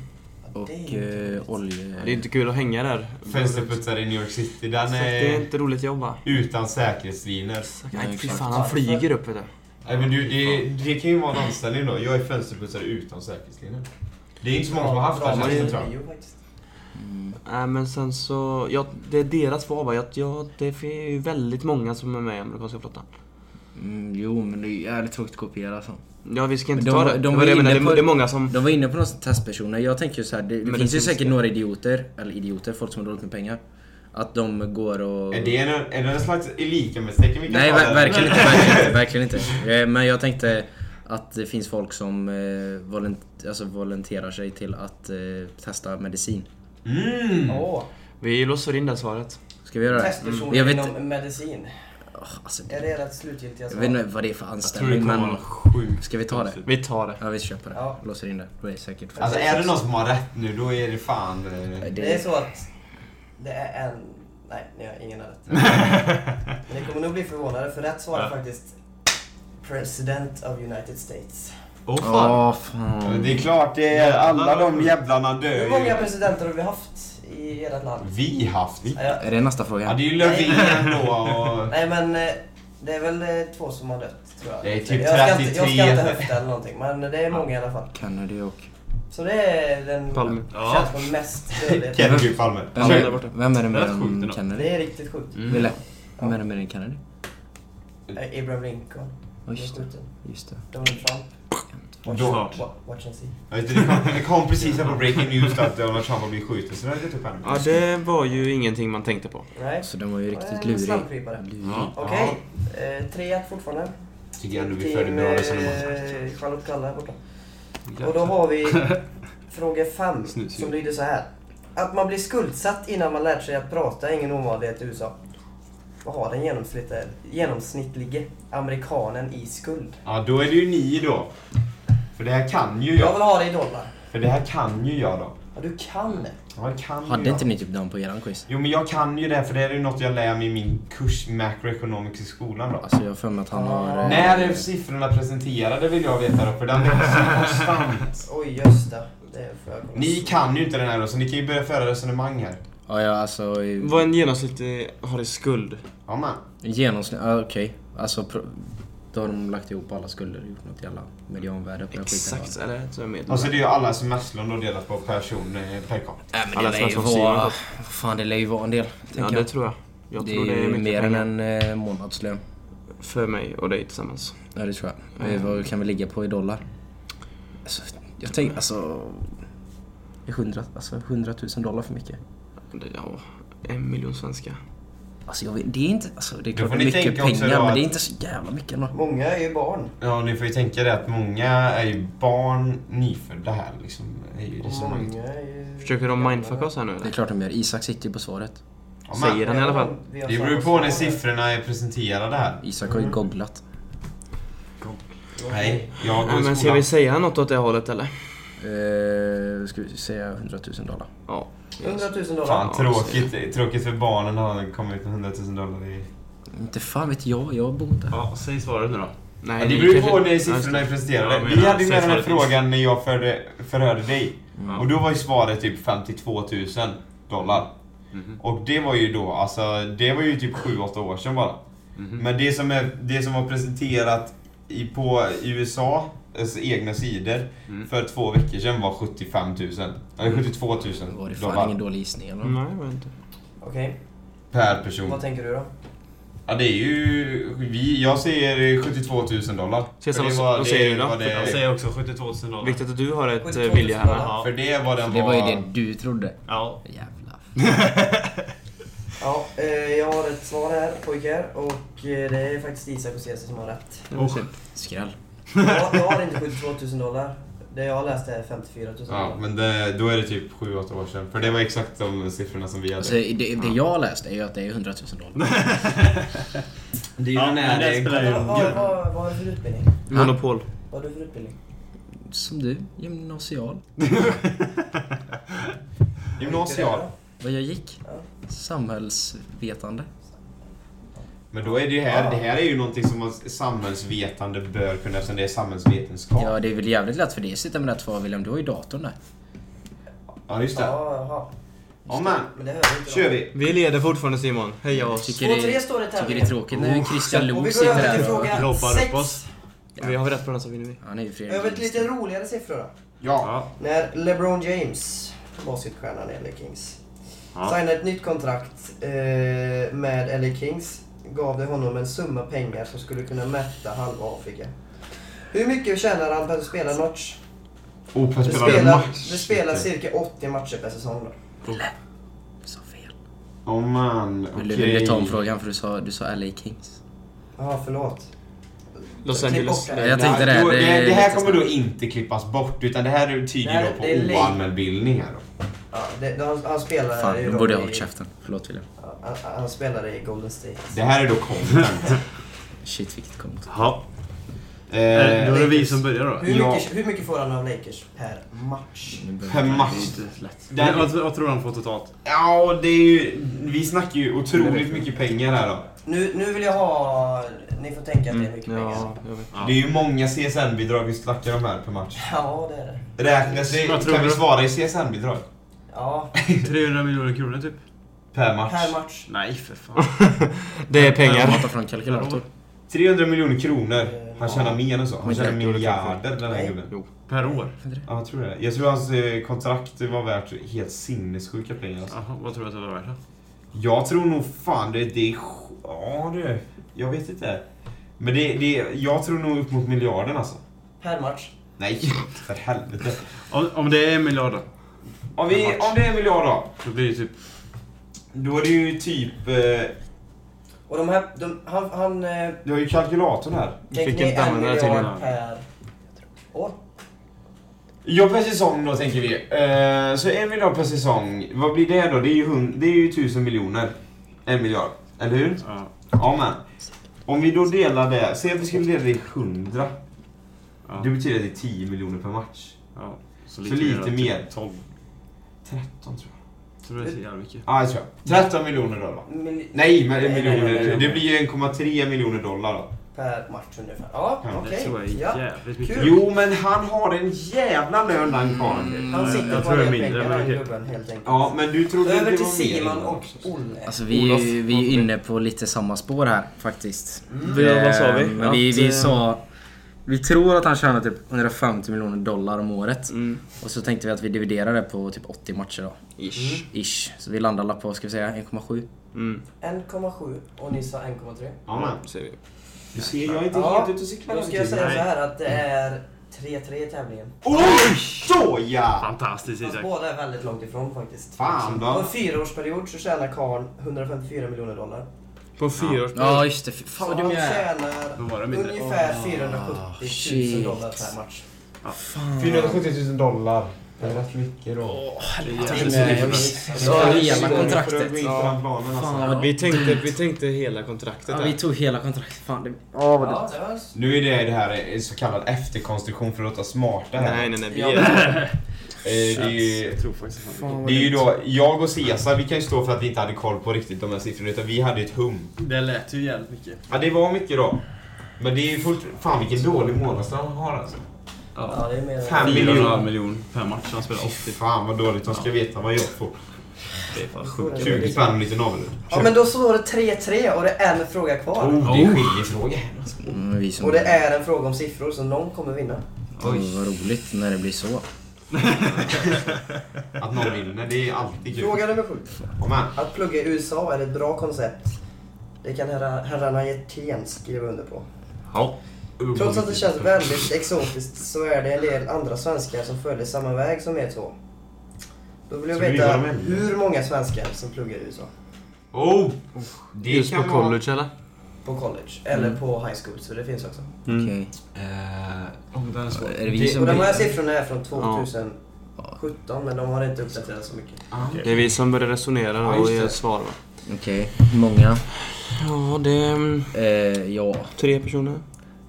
E: och
D: det är ju inte
E: eh,
D: roligt.
E: olje...
C: Det är inte kul att hänga där.
A: Fönsterputsare i New York City,
C: Så
A: den
C: att det är
A: är
C: inte roligt jobb va?
A: utan säkerhetsviner.
C: Nej fy
E: exakt.
C: fan, han flyger upp vet du.
A: Nej men du, det, det kan ju vara en anställning då. Jag är fönsterputsare utan säkerhetsviner. Det är inte så många som har haft den
D: Bra,
A: tjänsten
D: bra,
A: tror jag.
D: jo, faktiskt.
E: Mm.
C: Nej men sen så, ja, det är deras svar va? Ja, ja, det är ju väldigt många som är med i amerikanska flottan.
E: Mm, jo, men det är jävligt tråkigt att kopiera alltså.
C: Ja vi ska
E: Men
C: inte
E: de
C: ta
E: var-
C: det.
E: de
C: det.
E: var
C: var det jag
E: inne
C: menade. Det-
E: på-
C: Det är många som...
E: De var inne på någon testpersoner. Jag tänker ju så här, det, det
C: Men det
E: finns ju
C: finns
E: säkert
C: det.
E: några idioter, eller idioter, folk som har dåligt med pengar. Att de går och...
A: Är det en, är det en slags Elika-mästerken vi kan
E: Nej,
A: ta
E: ver-
A: där?
E: verkligen inte. Verkligen inte, verkligen inte. Eh, Men jag tänkte att det finns folk som eh, volent- alltså volonterar sig till att eh, testa medicin.
A: Mm.
D: Åh,
C: Vi låser in det svaret.
E: Ska vi göra det? Mm.
D: testperson
E: Jag vet-
D: inom medicin.
E: Åh, alltså,
D: Är det ert slutgiltiga
E: jag
D: svar?
E: vet inte vad det är för
B: Jag tror det
E: anställning
B: kommer vara
E: men...
B: någon sjukt
E: Ska vi ta
B: Typ.
E: det?
C: Vi tar det.
E: Ja, vi köper det.
D: Ja.
E: Låser in det. Då är det säkert folk.
A: Alltså är det någon som har rätt nu, då är det fan... eh,
D: Det är
E: Det,
D: så att det är en... Nej, ni har ingen har rätt. Men ni kommer nog bli förvånade för rätt svar är
B: Ja.
D: faktiskt President of United States.
B: Åh fan!
E: Åh
A: Men
E: fan.
A: Det är klart, det är alla de jävlarna
D: Hur många
A: dör ju. Mm.
D: presidenter har vi haft i ert land?
A: Vi haft.
D: Ja, jag-
E: Är det nästa
A: Ja,
E: fråga?
A: det är ju Löfven då och...
D: Nej men eh, det är väl eh, två som har dött tror jag.
A: Det är typ
D: jag ska inte, jag
A: 33.
D: ska inte höfta eller någonting men det är många i alla fall.
E: Kennedy och...
D: Så det är den
C: Palme.
B: Ja.
D: känns som mest dödlighet.
A: Kennedy Palme.
E: Vem
B: där borta.
E: är, vem är det
B: Det
E: mer
B: är sjukt
E: än
B: ändå.
E: Kennedy?
D: Det är riktigt sjukt.
B: Mm.
E: Ville? Vem är det mer än Kennedy?
D: Eh, Abraham Lincoln.
E: Ja,
D: blev
E: just det.
D: skjuten.
E: Just det.
D: Donald Trump. Watch,
B: Snart.
D: wa- watch and see.
A: Jag vet inte, det, kom, det kom precis här på breaking news att Donald Trump har blivit skjuten så det hade jag upp henne.
C: Ja det var ju ingenting man tänkte på.
D: Nej.
E: Så den var ju riktigt
D: en
E: lurig.
D: slamkrypare.
A: Mm.
B: Ja.
D: Okej, eh, 3-1 fortfarande.
A: Tycker jag ändå vi
D: Team,
A: förde bra
D: eh,
A: resonemang.
D: Charlotte Kalla här borta. Och då har vi fråga 5
B: Snus,
D: som
B: ju.
D: lyder så här. Att man blir skuldsatt innan man lärt sig att prata är ingen ovanlighet i USA. Vad har den genomsnittliga, genomsnittlige amerikanen i skuld?
A: Ja, då är det ju ni då. För det här kan ju
D: Jag
A: jag.
D: vill ha det i dollar.
A: För det här kan ju jag då.
D: Ja, du kan det.
A: Ja, det kan ju
E: Hade
A: jag.
E: inte ni typ den på eran quiz?
A: Jo, men jag kan ju det här för det här är ju något jag lär mig i min kurs Macroeconomics i skolan då.
E: Alltså jag har för mig att han har... eh,
A: När är siffrorna presenterade vill jag veta då, för den växer ju konstant.
D: Oj, just det. Det får jag kolla.
A: Ni kan ju inte den här då, så ni kan ju börja föra resonemang här.
E: Ja, ja alltså... i-
C: Vad en genomsnittlig har i skuld?
A: Ja, man.
E: Genomsnitt, ja, okej. Alltså pro- då har de lagt ihop alla skulder och gjort något jävla medianvärde på den skiten.
C: Exakt, eller? Så är med.
A: Och så är Alltså, det ju alla semesterlån då delat på person eh, per capita.
E: Nej men
C: Alla
E: det lär ju
C: svenska får
E: vara... Fan det lär ju vara en del.
C: Ja
E: tänker
C: det
E: jag.
C: tror jag. Jag
E: det
C: tror
E: är ju
C: mycket
E: mer
C: pengar.
E: än en eh, månadslön.
C: För mig och dig tillsammans.
E: Ja det tror jag. Eh, Vad kan vi ligga på i dollar? Alltså, jag tänker alltså... 100, alltså 100 000 dollar för mycket.
C: Det- Ja, en miljon svenska.
E: Alltså jag vet, det är inte... Alltså det är
A: Då
E: klart
A: får
E: det är
A: ni
E: mycket
A: tänka också
E: pengar
A: då
E: men
A: att-
E: det är inte så jävla mycket ändå.
D: Många är ju barn.
A: Ja, ni får ju tänka det att många är ju barn nyfödda här liksom. Är ju
D: Och
A: resonemanget.
D: många är ju...
C: Försöker de mindfucka oss här nu
E: Det är
C: eller?
E: klart de gör. Isak sitter ju på svaret.
A: Ja, Ja, men-
C: Säger han i alla fall.
D: Vi
A: Det
D: har
A: beror ju
D: samma
A: på när
D: svar.
A: siffrorna är presenterade här.
E: Isak har ju googlat.
A: Nej, jag
C: Nej,
A: går i
C: men ska vi
A: skolan.
C: säga något åt det hållet eller?
E: Eh, ska vi säga 100 000 dollar?
C: Ja.
D: 100 000 dollar.
A: Fan, tråkigt, tråkigt för barnen har kommit med 100 000 dollar i...
E: Inte fan vet jag, jag bor där.
B: Ja, säg svaret nu då.
C: Nej,
A: Ja, det
C: ni
A: beror ju
C: kanske-
A: på när
C: Nej, just
A: siffrorna
C: det.
A: är presenterade.
B: Ja, men
A: Vi hade ju
B: jag-
A: med den här
B: säg svaret.
A: frågan när jag förde, förhörde dig.
B: Ja.
A: Och då var ju svaret typ 52 000 dollar.
B: Mhm.
A: Och det var ju då, alltså det var ju typ 7-8 år sedan bara.
B: Mhm.
A: Men det som, är, det som var presenterat i, på USA alltså egna sidor
B: Mm.
A: för två veckor sedan var 75 000. Eller 72 000
E: Var det fan ingen
A: dollar Mm.
E: dålig gissning eller?
C: Nej, jag vet inte.
D: Okej,
A: per person.
D: vad tänker du då?
A: Ja, det är ju... Vi, jag säger 72 000 dollar.
C: Cesar,
A: För det
C: vad-
A: var-
C: vad
A: det
C: säger du då?
A: var det-
B: Jag säger också 72 000 dollar.
C: Viktigt att du har ett
D: 72 000
C: eh, vilja här.
D: dollar.
C: med.
A: För det var den
E: Det var ju
A: var-
E: det du trodde.
B: Ja.
E: Jävlar.
D: Ja, eh, jag har ett svar här pojkar och eh, det är faktiskt Isak och Cesar som har rätt.
B: Och-
E: Skräll.
D: Jag, jag har inte 72 000 dollar. Det jag har läst är 54 000 dollar.
A: Ja, men det, då är det typ 7-8 år sedan. För det var exakt de siffrorna som vi hade.
E: Alltså, det, det jag har läst är ju att det är 100 000 dollar.
A: det är
B: Ja, men det spelar ju
D: Vad, vad,
B: ingen roll.
D: vad, vad har du för utbildning?
C: Monopol.
D: Vad har du för utbildning?
E: Som du, gymnasial.
A: Gymnasial.
E: Vad jag gick?
D: Ja.
E: Samhällsvetande.
A: Men då är det ju här, det här är ju någonting som man- samhällsvetande bör kunna eftersom det är samhällsvetenskap.
E: Ja, det är väl jävligt lätt för dig att sitta med rätt svar William. Du har ju datorn där.
A: Ja, just det. Ja,
D: Ja, jaha.
A: men.
D: Men det hör jag inte.
A: Kör vi.
C: Vi leder fortfarande Simon. Heja
E: Jag
C: oss.
E: tycker
D: Två, tre
E: det,
D: står det i
E: tycker det
D: tävlingen.
E: är tråkigt när Christian
D: Och vi
E: Lok
D: går
E: sitter
D: över till
E: här och...
D: fråga
B: Ropar upp
D: sex.
B: oss.
C: Vi har vi rätt på den så vinner vi.
E: Han är ju Fredrik.
D: Över till lite roligare siffror då.
A: Ja.
B: Ja.
D: När LeBron James, basketstjärnan i LA Kings,
B: Ja.
D: signade ett nytt kontrakt eh, med LA Kings gav det honom en summa pengar som skulle kunna mätta halva Afrika. Hur mycket tjänar han per spelad match?
A: Oh, för
D: Det spelar, det spelar cirka 80 matcher per säsong. Då.
E: Så fel.
A: Åh oh, man, okej.
E: Vill du vill du ta om frågan för du sa, du sa LA Kings.
D: Jaha, förlåt.
C: Los
D: Klipp
C: Angeles.
D: bort det.
E: Ja, jag tänkte
A: Nej,
E: det.
A: då-
E: Det,
A: det,
E: är
A: det här
E: lite
A: kommer
E: snabbt.
A: då inte klippas bort utan det här
D: Det
A: tyder
D: här-
A: då på
D: det är lite-
A: oanmäld bildning här då.
D: Ja, det, det, han, han spelar
E: Fan,
D: ju
E: nu
D: då
E: borde jag
D: i-
E: hållit käften. Förlåt William.
D: ja, han, han spelar i Golden State.
A: Det här är då content.
E: Shit vilket konto.
B: Ja. Eh, Då
A: eh,
B: är det vi som börjar då.
D: Hur,
A: Ja.
D: mycket, hur mycket får han av Lakers per match?
E: Nu börjar-
A: per
B: Det
A: match.
B: är inte lätt.
A: Där-
B: Men Vad, vad tror du han får totalt?
A: Ja, det är ju... Vi snackar ju otroligt mycket pengar här då.
D: Nu, nu vill jag ha... Ni får tänka att det är mycket pengar.
C: Ja, jag vet.
B: Ja.
A: Det är ju många CSN-bidrag vi snackar om här per match.
D: Ja, det är det.
A: Räknas det...
B: Vad tror
A: Kan vi
B: du?
A: svara i CSN-bidrag?
D: Ja,
B: 300 miljoner kronor typ?
A: Per match.
D: per match.
B: Nej för fan.
C: Det är
E: Jag
C: pengar.
E: matar från kalkylator.
A: 300 miljoner kronor. Han
D: Ja.
A: tjänar mer än så. Han
E: Men
A: tjänar
E: det-
A: miljarder den här
D: Nej.
A: gubben.
B: Per år?
A: Ja, jag tror det. Jag tror hans eh, kontrakt var värt helt sinnessjuka pengar alltså.
B: Jaha, vad tror du att det var värt då?
A: Jag tror nog fan det, det är... sj- Ja du. Jag vet inte. Men det, det... Jag tror nog upp mot miljarden alltså.
D: Per match. Nej.
A: För helvete.
B: Om, om det är en miljard då?
A: Om, vi,
B: Per match.
A: om det är en miljard då.
B: Då blir det typ...
A: Då är det ju typ... Eh,
D: Och de här, de, han, han eh,
A: du har ju kalkylatorn här.
C: Vi
D: tänker
C: fick
D: ni
C: inte
D: en
C: använda det tydligen.
D: miljard per år?
A: Ja, per säsong då tänker vi. Eh, så en miljard per säsong. Vad blir det då? Det är ju, hund, det är ju tusen miljoner. En miljard. Eller hur?
B: Ja.
A: Ja, men. Om vi då delar det. Säg att vi skulle dela det i hundra.
B: ja.
A: Det betyder att det är 10 miljoner per match.
B: ja.
A: Så lite
B: då,
A: mer.
B: Typ 12.
A: 13 tror jag.
B: Så det är så jävla mycket.
A: Ja, det tror jag. 13 miljoner dollar.
D: Mil-
A: Nej, men
D: Nej, nej, nej,
A: miljoner.
D: nej.
A: Det blir ju 1,3 miljoner dollar då.
D: Per match ungefär. Ja,
A: Ja,
B: Det
D: okej.
B: tror jag är
D: Ja.
B: jävligt mycket.
D: Kul. Mm.
A: Jo, men han har en jävla lön den karln.
D: Han sitter
B: jag
D: på
B: tror det är
D: en
B: mindre,
D: pengar,
B: men
D: den
B: okej.
D: gubben helt enkelt.
A: Ja, men du trodde
D: Över
A: det
D: till
A: var mer
D: Simon
A: då?
D: och Olle.
E: Alltså vi,
C: Olof.
E: vi är ju inne på lite samma spår här faktiskt.
C: Vi- Vad sa vi?
E: Eh, Men vi,
C: Att,
E: vi
C: eh,
E: sa... Vi tror att han tjänar typ 150 miljoner dollar om året.
C: Mm.
E: Och så tänkte vi att vi dividerar det på typ 80 matcher då. Mm.
C: Ish.
E: Ish. Så vi landar alla på, ska vi säga 1,7?
C: Mm.
D: 1,7 och ni sa 1,3.
A: Ja, men.
C: Ser vi.
A: Du ser, jag är inte
D: Ja,
A: helt ute och cyklar.
D: Då ska jag säga
A: Nej.
D: så här att det är 3-3 i tävlingen.
A: Oj! Såja!
B: Fantastiskt
D: Fast
B: Isak.
D: båda är väldigt långt ifrån faktiskt.
A: Fan
D: På en
A: då.
D: fyraårsperiod så tjänar karln 154 miljoner dollar.
C: På fyra års...
E: Ja just det, Fy fan
D: Så
E: vad dum
D: han
E: jag är.
B: Då
D: tjänar
B: var det mindre.
A: Ah,
D: ungefär 470 000 dollar per match.
A: 470 000 dollar. Det är rätt mycket då.
E: Så hela kontraktet.
A: Ja.
C: Vi tänkte, vi tänkte hela kontraktet
E: Ja,
C: där.
E: vi tog hela kontraktet. Fan, det...
D: Ja, det var...
A: Nu är det det här en så kallad efterkonstruktion för att låta smarta här.
C: Nej, nej, nej. Vi
D: Ja.
C: är...
A: Eh, det är ju,
B: Jag tror faktiskt att han-
E: Fan, vad
A: det är ju
E: dumt.
A: då, jag och Cesar, vi kan ju stå för att vi inte hade koll på riktigt de här siffrorna utan vi hade ju ett hum.
F: Det lät ju jävligt mycket.
A: Ja det var mycket då. Men det är ju fort... Fan vilken dålig månadslön han har alltså.
D: Ja, det är mer...
A: Fem miljoner.
B: 4,5 miljoner per match. Han spelar 80.
A: Fan vad dåligt, de ska veta vad jag får.
B: Det är fan sjukt.
A: 20 spänn och lite navel.
D: Ja, men då står det 3-3 och det är en fråga kvar.
A: Oh, det är skiljefråga.
E: Mm, vi som...
D: Och det är en fråga om siffror, så någon kommer vinna.
E: Oj, vad roligt när det blir så.
A: Att någon vinner, det är alltid kul.
D: Fråga nummer sju.
A: Kom här.
D: Att plugga i USA är ett bra koncept. Det kan herra- herrarna Hjertén skriva under på.
B: Ja.
D: Trots att det känns väldigt exotiskt så är det en del andra svenskar som följer samma väg som er två. Då vill jag
A: Så vi
D: veta
A: var med.
D: hur många svenskar som pluggar i USA.
A: Oh! Det
C: Just på
A: kan vara-
C: college, eller?
D: På college, eller på high school, så det finns också.
B: Mm.
E: Okej.
A: Eh, oh, den är svår.
E: Är det vi
A: Det-
E: som
D: Och de här
E: blir-
D: siffrorna är från 2017, men de har inte uppdaterats så mycket.
A: Ah, okej.
C: Det är vi som börjar resonera
A: Ja,
C: och
A: just
C: ge
A: det.
C: svar, va?
E: Okej, många.
C: Ja, det är mm,
E: Eh, ja,
C: tre personer.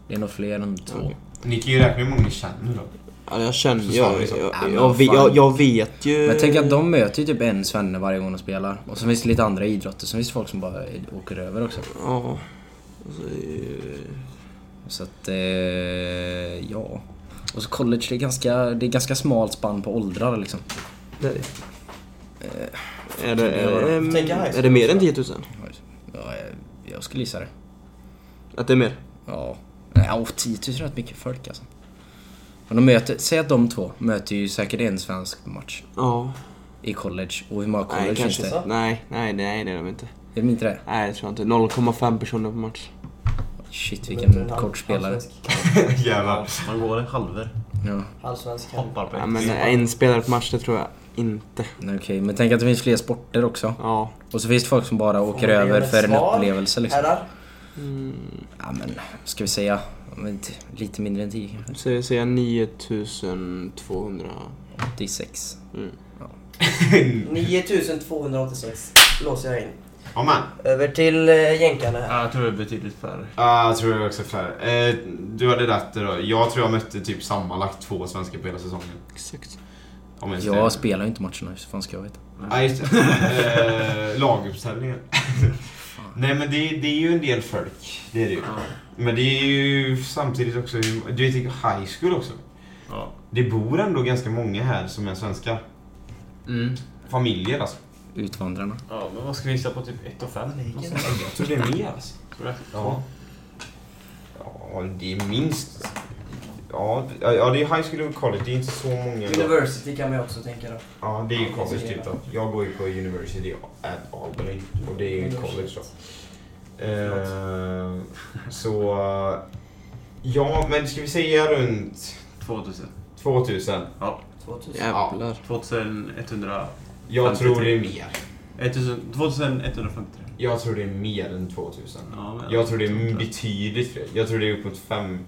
E: det är nog fler än två.
D: Mm.
C: Okej.
A: Ni kan ju räkna hur många ni känner då.
C: Ja, jag känner...
A: Så sa
C: Jag,
A: vi så.
C: jag,
A: Ja,
C: jag,
A: men
C: jag,
A: vad fan.
C: jag, jag vet ju...
E: Men tänk att de möter ju typ en svenne varje gång de spelar. Och så finns det lite andra idrotter, sen finns det folk som bara åker över också.
C: Ja. Alltså, eh,
E: Så att, eh, ja. Och så college, det är ganska, det är ganska smalt spann på åldrar liksom.
C: det är det. Är det, är, det,
D: Tänk high
C: är,
D: school,
C: det mer än 10 000?
E: Ja, jag, jag skulle gissa det.
C: Att det är mer?
E: Ja. Nej, åh, 10 000 är rätt mycket folk alltså. Men de möter, säg att de två möter ju säkert en svensk match
C: Ja.
E: i college. Och hur många college
C: Nej,
E: finns
C: kanske
E: det?
C: inte. Nej, nej, nej, det är de inte.
E: Är det inte det?
C: Nej, det tror jag inte. 0,5 personer på match.
E: Shit
D: Möter
E: vilken
D: en halv-
E: kort spelare.
D: halvsvensk.
A: Jävlar.
B: Man går det halver.
E: Ja,
D: Halvsvensk.
B: Hoppar på
C: Ja,
B: ett.
C: men en spelare på match, det tror jag inte.
E: okej. Men tänk att det finns fler sporter också.
C: Ja.
E: Och så finns det folk som bara åker
D: man
E: över
D: ge ett
E: för en
D: svar?
E: upplevelse liksom.
D: Herrar?
C: Mm,
E: Ja men, ska vi säga ja, men t- lite mindre än 10 kanske?
C: så jag säger 9200.
E: 86.
C: Mm.
D: 9286 låser jag in.
A: Ja men.
D: Över till eh, jänkarna här.
B: Ja, jag tror det är betydligt färre.
A: Ja, jag tror jag också fler. Eh, du hade rätt då. Jag tror jag mötte typ sammanlagt två svenskar på hela säsongen.
C: Exakt.
A: Om ens det.
E: Jag spelar ju inte matcherna, hur fan ska jag veta?
A: Ja, just det. Eh, laguppställningen. Nej men det, det är ju en del folk. Det är det ju. Men det är ju samtidigt också, hur- du vet high school också.
B: Ja.
A: Det bor ändå ganska många här som är svenska.
B: Mm.
A: Familjer alltså.
E: Utvandrarna.
B: Ja, men vad ska vi gissa på? Typ 1 och 5?
A: Jag tror det är mer alltså.
B: Tror jag.
A: Ja. Ja, det är minst... Ja, det- ja, det är high school och college. Det är inte så många.
D: University kan man ju också tänka då.
A: Ja, det är ju college typ då. Jag går ju på University at Albany och det är ju ett college då. Eh, så... Ja, men ska vi säga runt
B: 2000.
A: 2000?
D: 2000.
C: Jävlar.
B: 2100.
A: Jag tror det
B: 53.
A: är mer.
B: 1000 2153.
A: Jag tror det är mer än 2000.
B: Ja, men-
A: Jag tror det är betydligt fler. Jag tror det är uppåt fem.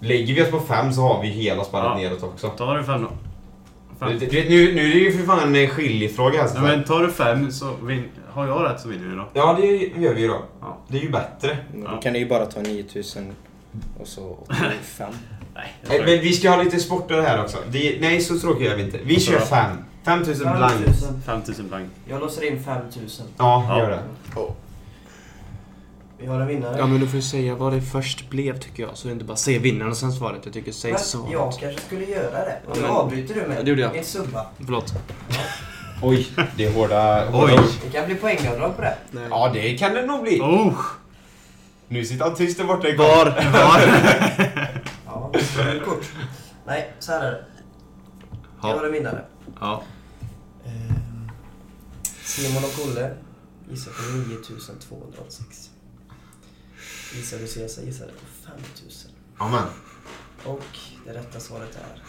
A: Lägger vi oss på fem så har vi hela spannet
B: Ja.
A: neråt också.
B: Tar du fem då?
A: Du,
B: Fem.
A: du vet, nu, nu är det ju för fan en skiljefråga här. så
B: Ja,
A: fan.
B: men tar du fem så vin... har jag rätt så vinner vi då.
A: Ja, det gör vi ju då.
B: Ja.
A: Det är ju bättre.
B: Ja.
E: Då kan du ju bara ta 9000 och så
B: Nej.
E: 85.
B: jag
A: Nej,
B: tror
A: Eh, Men vi ska ha lite sporter här också. Det, nej, så tråkiga är vi inte. Vi kör fem. 5000 blankt.
D: 5000.
B: 5000 blank.
D: Jag låser in 5000.
A: Ja,
B: Ja.
A: gör det.
D: Vi har en vinnare.
C: Ja men du får ju säga vad det först blev tycker jag. Så det inte bara säg vinnaren och sen svaret. Jag tycker säg
D: Men
C: svaret.
D: jag kanske skulle göra det.
C: Ja,
D: Nu
C: men-
D: avbryter du mig.
C: Ja, det gjorde jag.
D: Inte subba.
C: Förlåt.
A: Oj, det är hårda...
B: Oj!
D: Det kan bli poängavdrag på det.
A: Ja, det kan det nog bli.
B: Oh!
A: Nu sitter han tyst där borta i
B: Var? Var?
D: Ja, kort. Nej, så här är det. Jag har en vinnare.
B: Ja.
D: Ehm, Simon och Olle gissar på 9286. Gissar du Cesar gissade på 5000.
A: Ja, men.
D: Och det rätta svaret är...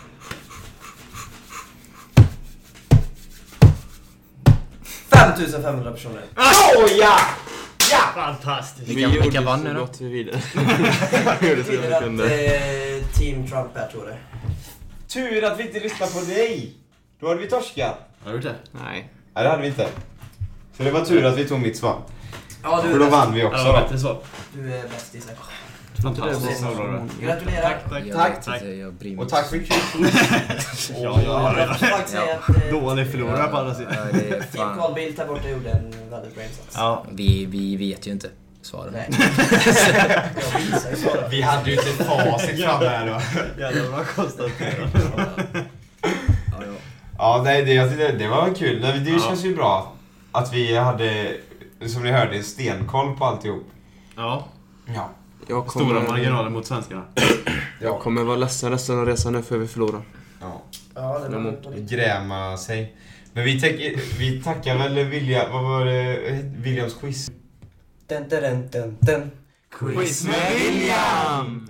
D: ...5500 personer.
B: Ah!
A: Oh, ja!
F: Fantastiskt.
E: Vilka- vilka
C: gjorde
E: vann
C: så
E: nu då?
C: gott vi ville.
D: Det
C: så jag
D: betyder att
C: kunde.
D: eh, Team Trump är, tror det.
A: Tur att vi inte lyssnar på dig! Då hade vi torskat.
F: Har du gjort det?
C: Nej.
A: Nej, det hade vi inte. Så det var tur att vi tog mitt svar.
D: Ja, du
A: För
D: är
A: då
D: bäst.
A: vann vi
F: Ja, det var
A: också.
F: bättre svar.
D: Du är bäst Isak.
C: Alltså,
B: Fantastiskt.
D: Fantastiskt.
B: bra.
D: Gratulerar.
F: Tack,
E: Jag
A: Tack.
E: vet inte, jag bryr mig
A: Och tack
E: inte.
A: för kul.
F: Ja, ja, ja.
D: Jag får faktiskt säga att eh,
B: Dålig förlorare på andra sidan.
E: Ja, det är
D: Team
E: fan.
D: Carl Bildt där borta gjorde en väldigt bra insats.
B: Ja.
E: Vi, vi vet ju inte svaren.
D: Nej. Jag visar ju svaret.
A: Vi hade ju inte facit framme här då.
B: Jävlar vad konstaterat.
E: Ja, ja.
A: Ja, nej, det, jag tyckte- det var kul. Nej, men Det
B: Ja.
A: känns ju bra att vi hade, som ni hörde, stenkoll på alltihop.
B: Ja,
A: Ja.
C: Jag kommer,
B: stora marginaler mot svenskarna.
C: Jag kommer vara ledsen resten av resan nu för vi förlorar.
A: ja.
D: Ja, det var på ditt.
A: Gräma sig. Men vi, tack, vi tackar väl William, vad var det, Williams quiz?
D: Dun, dun, dun, dun, dun.
B: Quiz med William!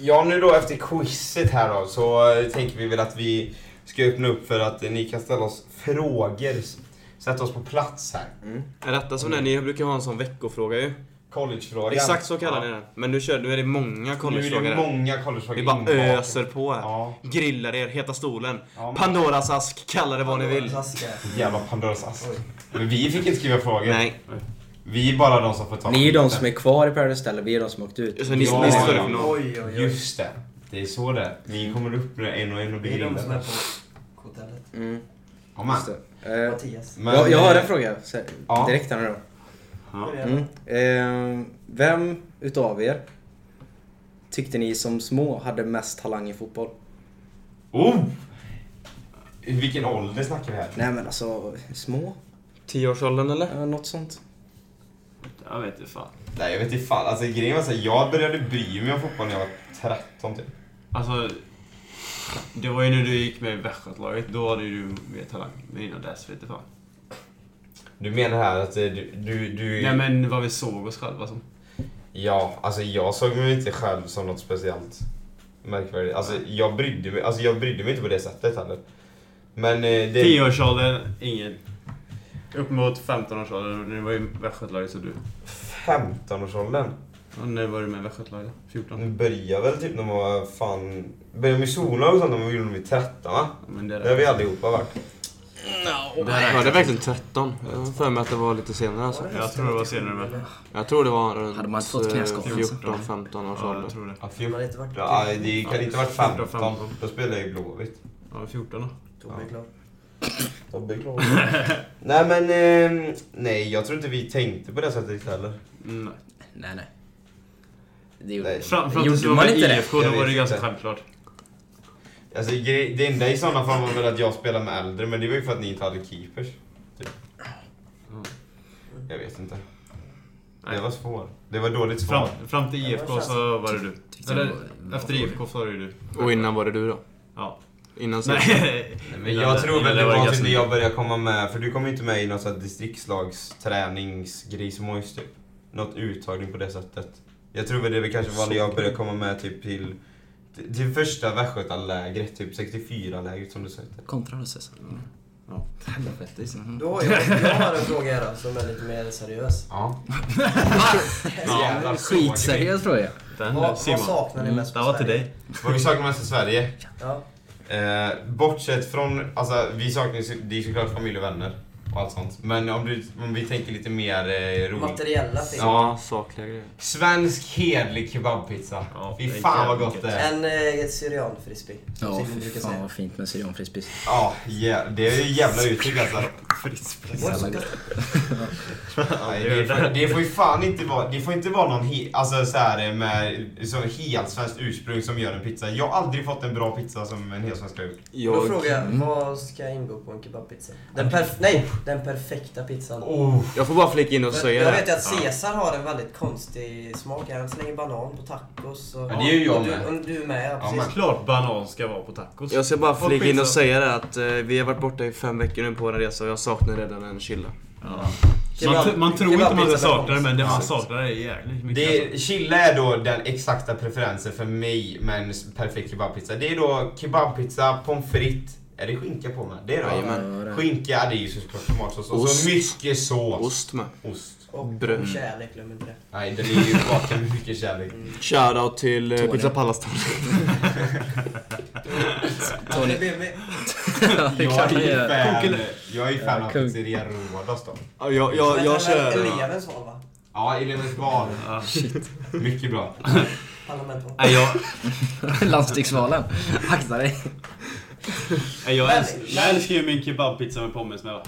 A: Ja, nu då efter quizet här då så eh, tänker vi väl att vi ska öppna upp för att eh, ni kan ställa oss frågor. S- Sätta oss på plats här.
C: Är detta som den ni brukar ha en sån veckofråga ju?
A: Collegefrågan.
C: Exakt så kallar ni
A: Ja.
C: den. Men nu, kör, nu är det många
A: Nu
C: collegefrågor
A: är det
C: här.
A: många collegefrågor
C: Vi bara
A: inbakade.
C: öser på här.
A: Ja.
C: Grillar er, heta stolen.
A: Ja, men-
C: Pandoras ask, kalla det vad ni vill.
D: Klassiker.
A: Jävla Pandoras ask. Men vi fick inte skriva frågor.
C: Nej.
A: Vi är bara de som får ta
E: Ni är ju de
A: skiten.
E: som är kvar i Paradise Hotel, vi är de som åkte ut.
C: Så ni,
A: Ja,
C: ni
A: ja,
C: står
A: ja.
C: för någon.
D: Oj, oj, oj.
A: Just det. Det är så det är. Ni kommer upp med en och en och blir
D: Det är de som är
A: grillade.
D: på hotellet.
E: Mm,
A: Ja, man.
E: just det. Eh,
C: Mm.
D: Mattias.
A: Men,
E: jag, jag har
A: eh,
E: en fråga så här,
A: ja.
E: direkt här nu då.
B: Ja.
D: Börja.
E: Mm. Eh, vem utav er tyckte ni som små hade mest talang i fotboll?
A: Oh! I Vilken ålder snackar vi här?
E: Nej men alltså, små?
C: Tioårsåldern eller?
E: Eh, något sånt.
B: Jag vet inte fan.
A: Nej jag vet inte fan. Alltså grejen var såhär, jag började bry mig om fotboll när jag var 13 typ.
B: Alltså, det var ju när du gick med i Västgötalaget. Då hade ju du mer talang. Men innan dess vet jag fan.
A: Du menar här att eh, du... du, du
B: Nej men vad vi såg oss själva som.
A: Ja, alltså jag såg mig inte själv som något speciellt märkvärdigt. Alltså jag brydde mig, alltså, jag brydde mig inte på det sättet heller. Men eh, det...
B: Tioårsåldern, ingen. Upp mot 15-årsåldern, när du var i Västgötalaget så du.
A: 15-årsåldern.
B: Ja, när var du med i Västgötalaget? 14?
A: Den började väl typ när man var fan... Började med sola och sånt när man gjorde vid 13 va?
B: Ja, men det
A: Det har vi
B: räknas.
A: allihopa varit.
B: Det
C: Ja, det är
B: räknas.
C: verkligen 13. Jag har för mig att det var lite senare alltså.
B: Jag tror det
D: typ
B: var senare med.
C: Jag tror det var runt
E: Hade man inte fått knäskada, alltså?
C: 14-15 års
B: Ja, Alltså,
C: ålder.
B: jag tror det.
A: Ja,
D: Man
A: fjorton.
D: har inte varit typ
A: Ja, det kan inte ha varit
B: 14,
A: 15. Då spelade jag i Blåvitt.
B: Ja, 14 då.
D: Tobbe är klar.
A: Tobbe är klar. nej men, eh, nej jag tror inte vi tänkte på det sättet heller.
B: Mm, nej.
E: Nej nej. Det gjorde
A: Nej.
B: Fram, fram
E: Gjorde
B: tills du var
E: man
B: med
E: inte det?
B: IFK, då
A: Jag
B: var det
A: vet
B: ganska
A: inte.
B: självklart.
A: Alltså gre- det enda i sådana fall var väl att jag spelade med äldre men det var ju för att ni inte hade keepers. Typ.
B: Mm.
A: Jag vet inte.
B: Nej.
A: Det var svårt. Det var dåligt svar.
B: Fram, fram till IFK så var det du.
E: Tyckte jag
B: Eller,
E: var- var
B: efter
E: dålig.
B: IFK så var det ju du.
C: Och innan var det du då?
B: Ja.
C: Innan sen?
B: Nej.
A: Men jag tror väl det var
B: ganska
A: typ när jag började komma med, för du kom ju inte med i någon sån här distriktslagsträningsgrismojs typ. Något uttagning på det sättet. Jag tror väl det väl kanske var när jag började komma med typ till, till första västgötalägret, typ 64-lägret som du sa.
E: Kontra då Cesar.
B: Ja.
E: alltså. Mm. Helvete. Mm.
D: Då har jag, jag har en fråga här då, som är lite mer seriös.
A: Ja.
E: Ja, Skitseriös tror jag.
B: Den
D: Vad, vad
B: Simon.
D: saknar ni
E: Mm,
D: mest
B: Det
D: på
B: var till
D: Sverige?
B: dig.
A: Vad vi saknar mest i Sverige?
D: Ja.
A: Eh, bortsett från, alltså vi saknar ju- det är såklart familj och vänner och allt sånt. Men om, du, om vi tänker lite mer eh, roligt.
D: Materiella ting.
A: Ja.
C: sakliga grejer.
A: Svensk hedlig kebabpizza.
B: Ja,
A: Fy
B: det är
A: fan vad
B: jävligt
A: gott det är.
D: En eh, syrian-frisbee. som
E: Ja,
D: Simon
E: fy
D: brukar
E: fan
D: säga.
E: vad fint med syrianfrispis.
A: Ja, jä- det är ju jävla uttryck alltså.
D: Var det så gott?
A: Nej, det, får, det får ju fan inte vara, det får inte vara någon he, alltså så här med så helt svenskt ursprung som gör en pizza. Jag har aldrig fått en bra pizza som en helsvensk har gjort.
D: Då
C: Jag,
D: frågar
E: Mm.
D: jag, vad ska ingå på en kebabpizza? Den perf- nej, den perfekta pizzan.
A: Oh.
C: jag får bara flika in och
D: Jag,
C: säga
D: jag
C: det.
D: vet ju att Caesar har en väldigt konstig smak. Han slänger banan på tacos. Och,
A: Ja, det är ju jag
D: och du,
A: med.
D: Och du med, ja,
A: Ja,
D: precis.
A: men-
B: Klart banan ska vara på tacos.
C: Jag ska bara
B: Och
C: flika in och
B: pizza.
C: säga det att eh, vi har varit borta i fem veckor nu på en resa och jag saknar redan en chilla.
B: Ja. Man,
D: Kebab-
B: man tror inte man
D: kebabpizza
B: saknar det,
D: med
B: men det man
D: pommes.
B: saknar det är jäkligt mycket. alltså.
A: Det, chilla är då den exakta preferensen för mig med en perfekt kebabpizza. Det är då kebabpizza, pommes frites, Är det skinka på med? Det är det
E: Jajamän.
A: va? Skinka, det är ju såklart tomatsås. Och
B: Ost.
A: så mycket sås.
B: Ost med.
A: Ost.
D: Och
B: Bröd.
D: kärlek, glöm inte det.
A: Nej, den är ju bakad med mycket kärlek.
B: Shoutout till eh,
E: Tony.
B: Pizza Pallas Tony.
E: Tony.
D: Det blev med-
E: Ja, det
A: Jag
E: kan man
A: är
E: göra.
A: fan, jag är fan
E: Ja,
A: av
E: kung.
A: pizzeria Rodas då.
B: Ja, Jag, jag, jag kör...
D: Elevens val va?
A: Ja, Elevens val. Mycket bra.
D: Parlamentval.
B: Nej, jag,
E: Landstingsvalen. Akta dig.
B: nej, jag, älskar, jag älskar ju min kebabpizza med pommes med va?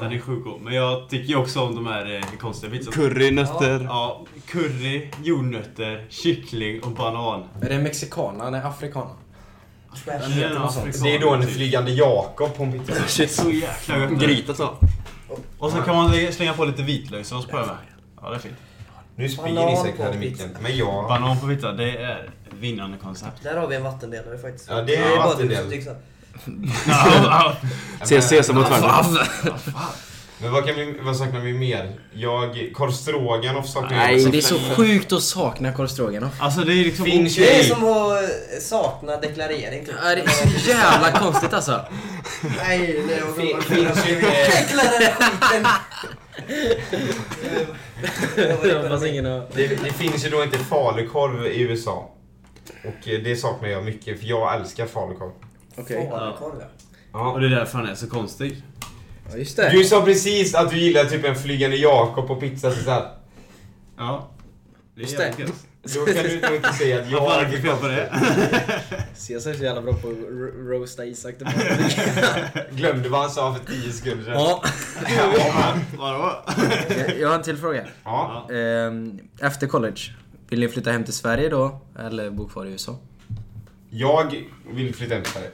B: Den är sjukt god. Men jag tycker ju också om de här eh, konstiga pizzorna.
C: Curry,
D: nötter.
B: Ja, curry, jordnötter, kyckling och banan.
E: Är det mexikana? Nej, afrikana.
D: Trash.
B: Det är en afrikan,
A: Det är då en
B: typ.
A: flygande Jakob på en pizza.
B: Shit, så jäkla gött. Gryta så. Och så kan man lägga- slänga på lite vitlökssås på den här. Ja, det är fint.
A: Nu spyr
D: Banan
A: Isak här
D: på
A: i micken. Men jag...
B: Banan på pizza, det är ett vinnande koncept.
D: Där har vi en vattendelare faktiskt.
A: Ja, det är
D: bara
A: vattendel.
D: du som tycks ha-
C: CC som mot tvärtom.
A: Men vad, kan vi, vad saknar vi mer? Jag... Karl Stroganoff saknar jag.
C: Nej,
E: Alltså, det är så sjukt att sakna korv stroganoff.
B: Alltså det är liksom...
A: Finns
D: Det är
A: ju...
D: som att sakna deklarering typ.
E: Ja, Det är så jävla konstigt alltså.
D: Nej, nej, jag
A: fin-
D: kommer
A: Finns ju... eh,
D: Deklarera skiten! Jag var
E: Jag
D: inte
E: hoppas
D: med.
E: ingen har...
A: Det, det finns ju då inte falukorv i USA. Och eh, det saknar jag mycket, för jag älskar falukorv.
E: Okej.
D: Falukorv, ja.
B: Och det är därför han är så konstig.
E: Ja, just det.
A: Du sa precis att du gillar typ en flygande Jakob på pizza så såhär.
B: Ja. Det är
E: Just det.
B: jävligt gött.
A: Då kan du nog inte säga att
B: Jag
A: jag
B: har aldrig fel på det.
E: Cesar är så jävla bra på att ro- roasta Isak.
A: glömde vad han sa för 10 sekunder sedan.
E: Ja.
A: Ja.
B: Vadå?
E: Jag har en till fråga.
A: ja.
E: Ehm, Efter college, vill ni flytta hem till Sverige då? Eller bo kvar i USA?
A: Jag vill flytta hem till Sverige.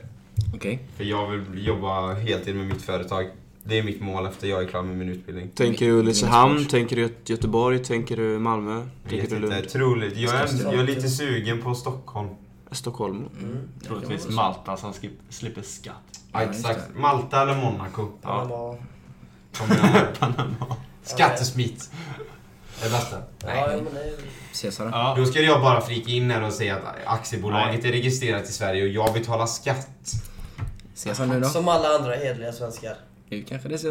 E: Okej.
A: För jag vill jobba heltid med mitt företag. Det är mitt mål efter jag är klar med min utbildning.
C: Tänker du Ulricehamn? Tänker du Göte- Göteborg? Tänker du Malmö?
A: Jag
C: Tänker
A: vet
C: du
A: inte,
C: Lund?
A: troligt. Jag är, jag är lite sugen på Stockholm.
C: Stockholm?
E: Mm.
B: Troligtvis Malta som skip- slipper skatt.
A: Ja,
E: just
A: exakt. Malta eller Monaco.
D: Han var-
A: Kommer jag ihåg. Skattesmit. Det bästa.
D: Ja, men det...
E: Cesar då?
B: Ja.
A: Då ska jag bara flika in här och säga att aktiebolaget är registrerat i Sverige och jag betalar skatt.
E: Cesar nu då?
D: Som alla andra hederliga svenskar.
E: Nu kanske det ser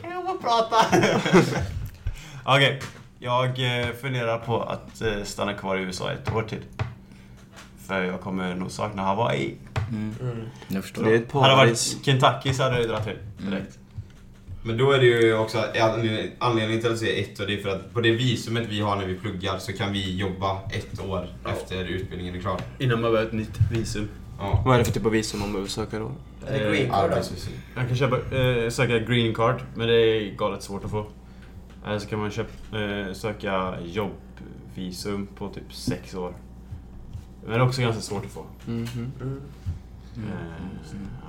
A: Kan jag få prata?
B: Okej. Jag eh, funderar på att eh, stanna kvar i USA ett år till. För jag kommer nog sakna Hawaii.
D: Mm.
E: Jag
C: Det
E: förstår.
C: är ett
B: Hade det
C: paradis.
B: varit Kentucky så hade jag ju dragit till direkt.
A: Men då är det ju också anledning- anledningen till att säga ett år, det är för att på det visumet vi har när vi pluggar så kan vi jobba ett år efter utbildningen är klar.
B: Mm. Innan man behöver ett nytt visum.
A: Ja.
C: Vad är det för typ av visum man behöver söka då?
D: Är det
B: Eh,
D: green card då?
A: Arbetsvisum.
B: Man kan köpa, eh, söka green card, men det är galet svårt att få. Eller så kan man köp, eh, söka jobbvisum på typ sex år. Men det är också ganska svårt att få.
C: Mhm.
B: Eh,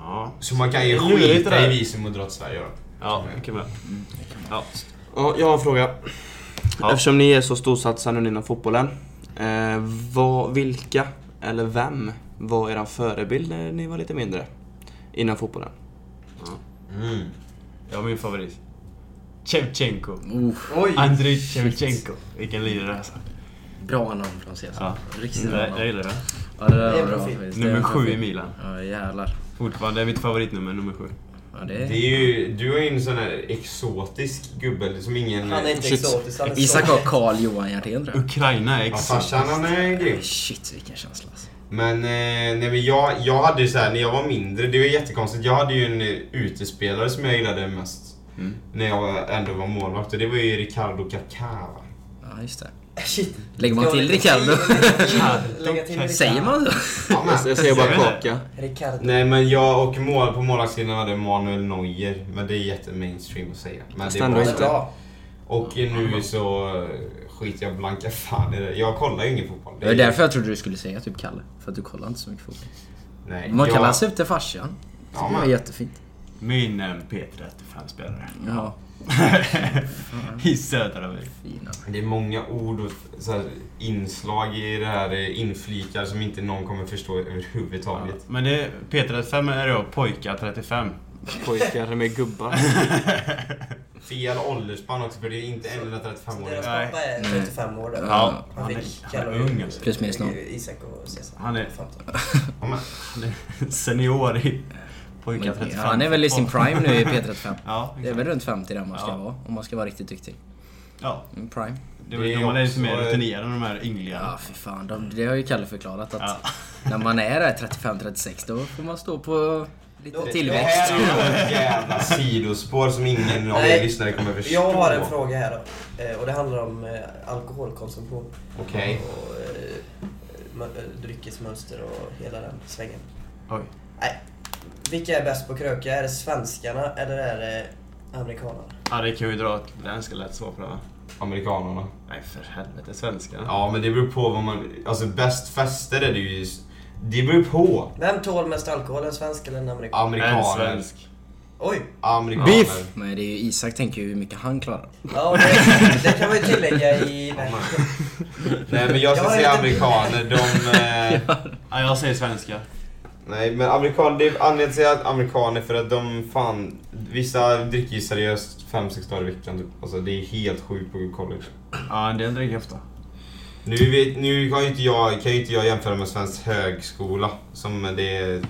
B: ja.
A: Så man kan ju
B: Det är lurigt det
A: skita
B: där.
A: i visum och dra till Sverige då.
B: ja, mycket bra. Ja.
C: Ja, jag har en fråga.
B: Ja.
C: Eftersom ni är så storsatsande nu inom fotbollen. Eh, vad, vilka eller vem var er förebild när ni var lite mindre? Innan fotbollen.
A: Mm.
B: Jag har min favorit. Shevchenko.
D: Oj!
B: Andriy Shevchenko. Vilken lirare alltså.
E: Bra namn från Cesar.
B: Ja.
E: Riktigt bra
B: Nej, Jag
E: namn.
B: gillar det.
E: Ja, det där
D: Det är
E: var bra
D: profil.
E: faktiskt. Det
B: Nummer
E: var
B: sju i
E: profil.
B: Milan.
E: Ja jävlar.
B: Fortfarande mitt favoritnummer, nummer sju.
E: Ja, det
A: Det
E: är...
A: är ju, du är ju en sån här exotisk gubbe som ingen...
D: Han är inte
C: Shit.
D: exotisk, han är
E: Isak
D: stolt.
E: har Karl Johan Hjertén tror jag.
B: Ukraina är
A: Ja,
B: exakt.
A: farsan han är grym.
E: Shit vilken känsla alltså.
A: Men, eh, nej men jag, jag hade ju så här, när jag var mindre, det var jättekonstigt. Jag hade ju en eh, utespelare som jag gillade mest.
C: Mm.
A: När jag ändå var målvakt och det var ju Ricardo Kaká. va?
E: Ja just det.
D: Shit.
E: Lägger man
D: Ska
E: till
D: jag
E: Ricardo?
D: Lägga till Ricardo.
E: Säger man så?
A: Ja, men.
C: Jag, jag säger bara
B: Ser vi det?
C: kaka.
D: Ricardo.
A: Nej men jag och mål, på målvaktssidan hade Manuel Neuer. Men det är jättemainstream att säga. Men
C: Fast
A: det är
C: ändå
A: bara
D: Han är
C: inte.
A: så.
D: bra.
A: Och nu så eh, skiter jag blanka fan i det. Jag kollar ju ingen fotboll.
E: Det var därför jag trodde du skulle säga typ Kalle. För att du kollar inte så mycket fotboll.
A: Nej,
E: Man
A: jag-
E: kallar sig efter farsan.
A: Ja,
E: Det var
A: men-
E: jättefint.
B: Min eh, P35-spelare.
E: Ja.
B: I södra Amerika.
E: Fina.
A: Det är många ord och så här, inslag i det här eh, inflikar som inte någon kommer förstå överhuvudtaget.
B: Men det, P35 är då pojkar 35.
C: Pojkar med gubbar.
A: fel åldersspann också för det är inte en eller 35 år.
D: Deras
B: Nej.
D: pappa är
E: Nej.
D: 35 år där.
E: Ja.
D: Han
B: Han
D: fick
B: är-
D: kalla
B: han är ung, alltså.
E: Plus minus noll.
D: Isak och Cesar.
B: Han är-
D: 15.
B: Han är senior i pojkar 35.
E: Men, ja, han är väl i sin prime nu i P35.
B: Ja,
E: Det är väl runt 50 där man ska
B: Ja.
E: vara, om man ska vara riktigt duktig.
B: ja.
E: Mm, Prime.
B: Det är väl
A: Det är
B: då man är lite mer
A: också-
B: rutinerad än de här ynglingarna.
E: Ja, fy fan. De, det har ju Kalle förklarat att när man är där 35-36 då får man stå på
D: Då-
E: lite
D: då
A: Det
E: tillväxt.
A: här är ett jävla sidospår som ingen av er
D: Nej.
A: lyssnare kommer förstå.
D: Jag har en fråga här då. Eh, Och det handlar om eh, alkoholkonsumtion.
A: Okej.
D: Och eh, mö- eh, dryckesmönster och hela den svängen.
B: Oj.
D: Nej. Vilka är bäst på att kröka? Är det svenskarna eller är det amerikanerna?
B: Ja, det kan vi dra ett ganska lätt svar på det va?
A: Amerikanerna.
B: Nej, för helvete. Svenskarna.
A: Ja, men det beror på vad man... Alltså bäst fester är det ju... Det beror på.
D: Vem tål mest alkohol? En svensk eller en amerikan?
B: En
A: Amerikaner.
B: svensk.
D: Oj!
A: Amerikaner.
E: Beef! Men det är ju Isak tänker ju hur mycket han klarar.
D: Ja, det, det kan man ju tillägga i... Nej.
A: Nej, men jag ska
D: Jag är
A: säga
D: lite-
A: amerikaner. De... Eh,
B: Ja, jag säger svenskar.
A: Nej, men amerikaner, det är anledningen till att amerikaner för att de fan, vissa dricker ju seriöst 5-6 dagar i veckan typ. Alltså det är helt sjukt på college.
B: Ja, det dricker ofta.
A: Nu, vet, nu kan ju inte jag, kan ju inte jag jämföra med svensk högskola som det eh,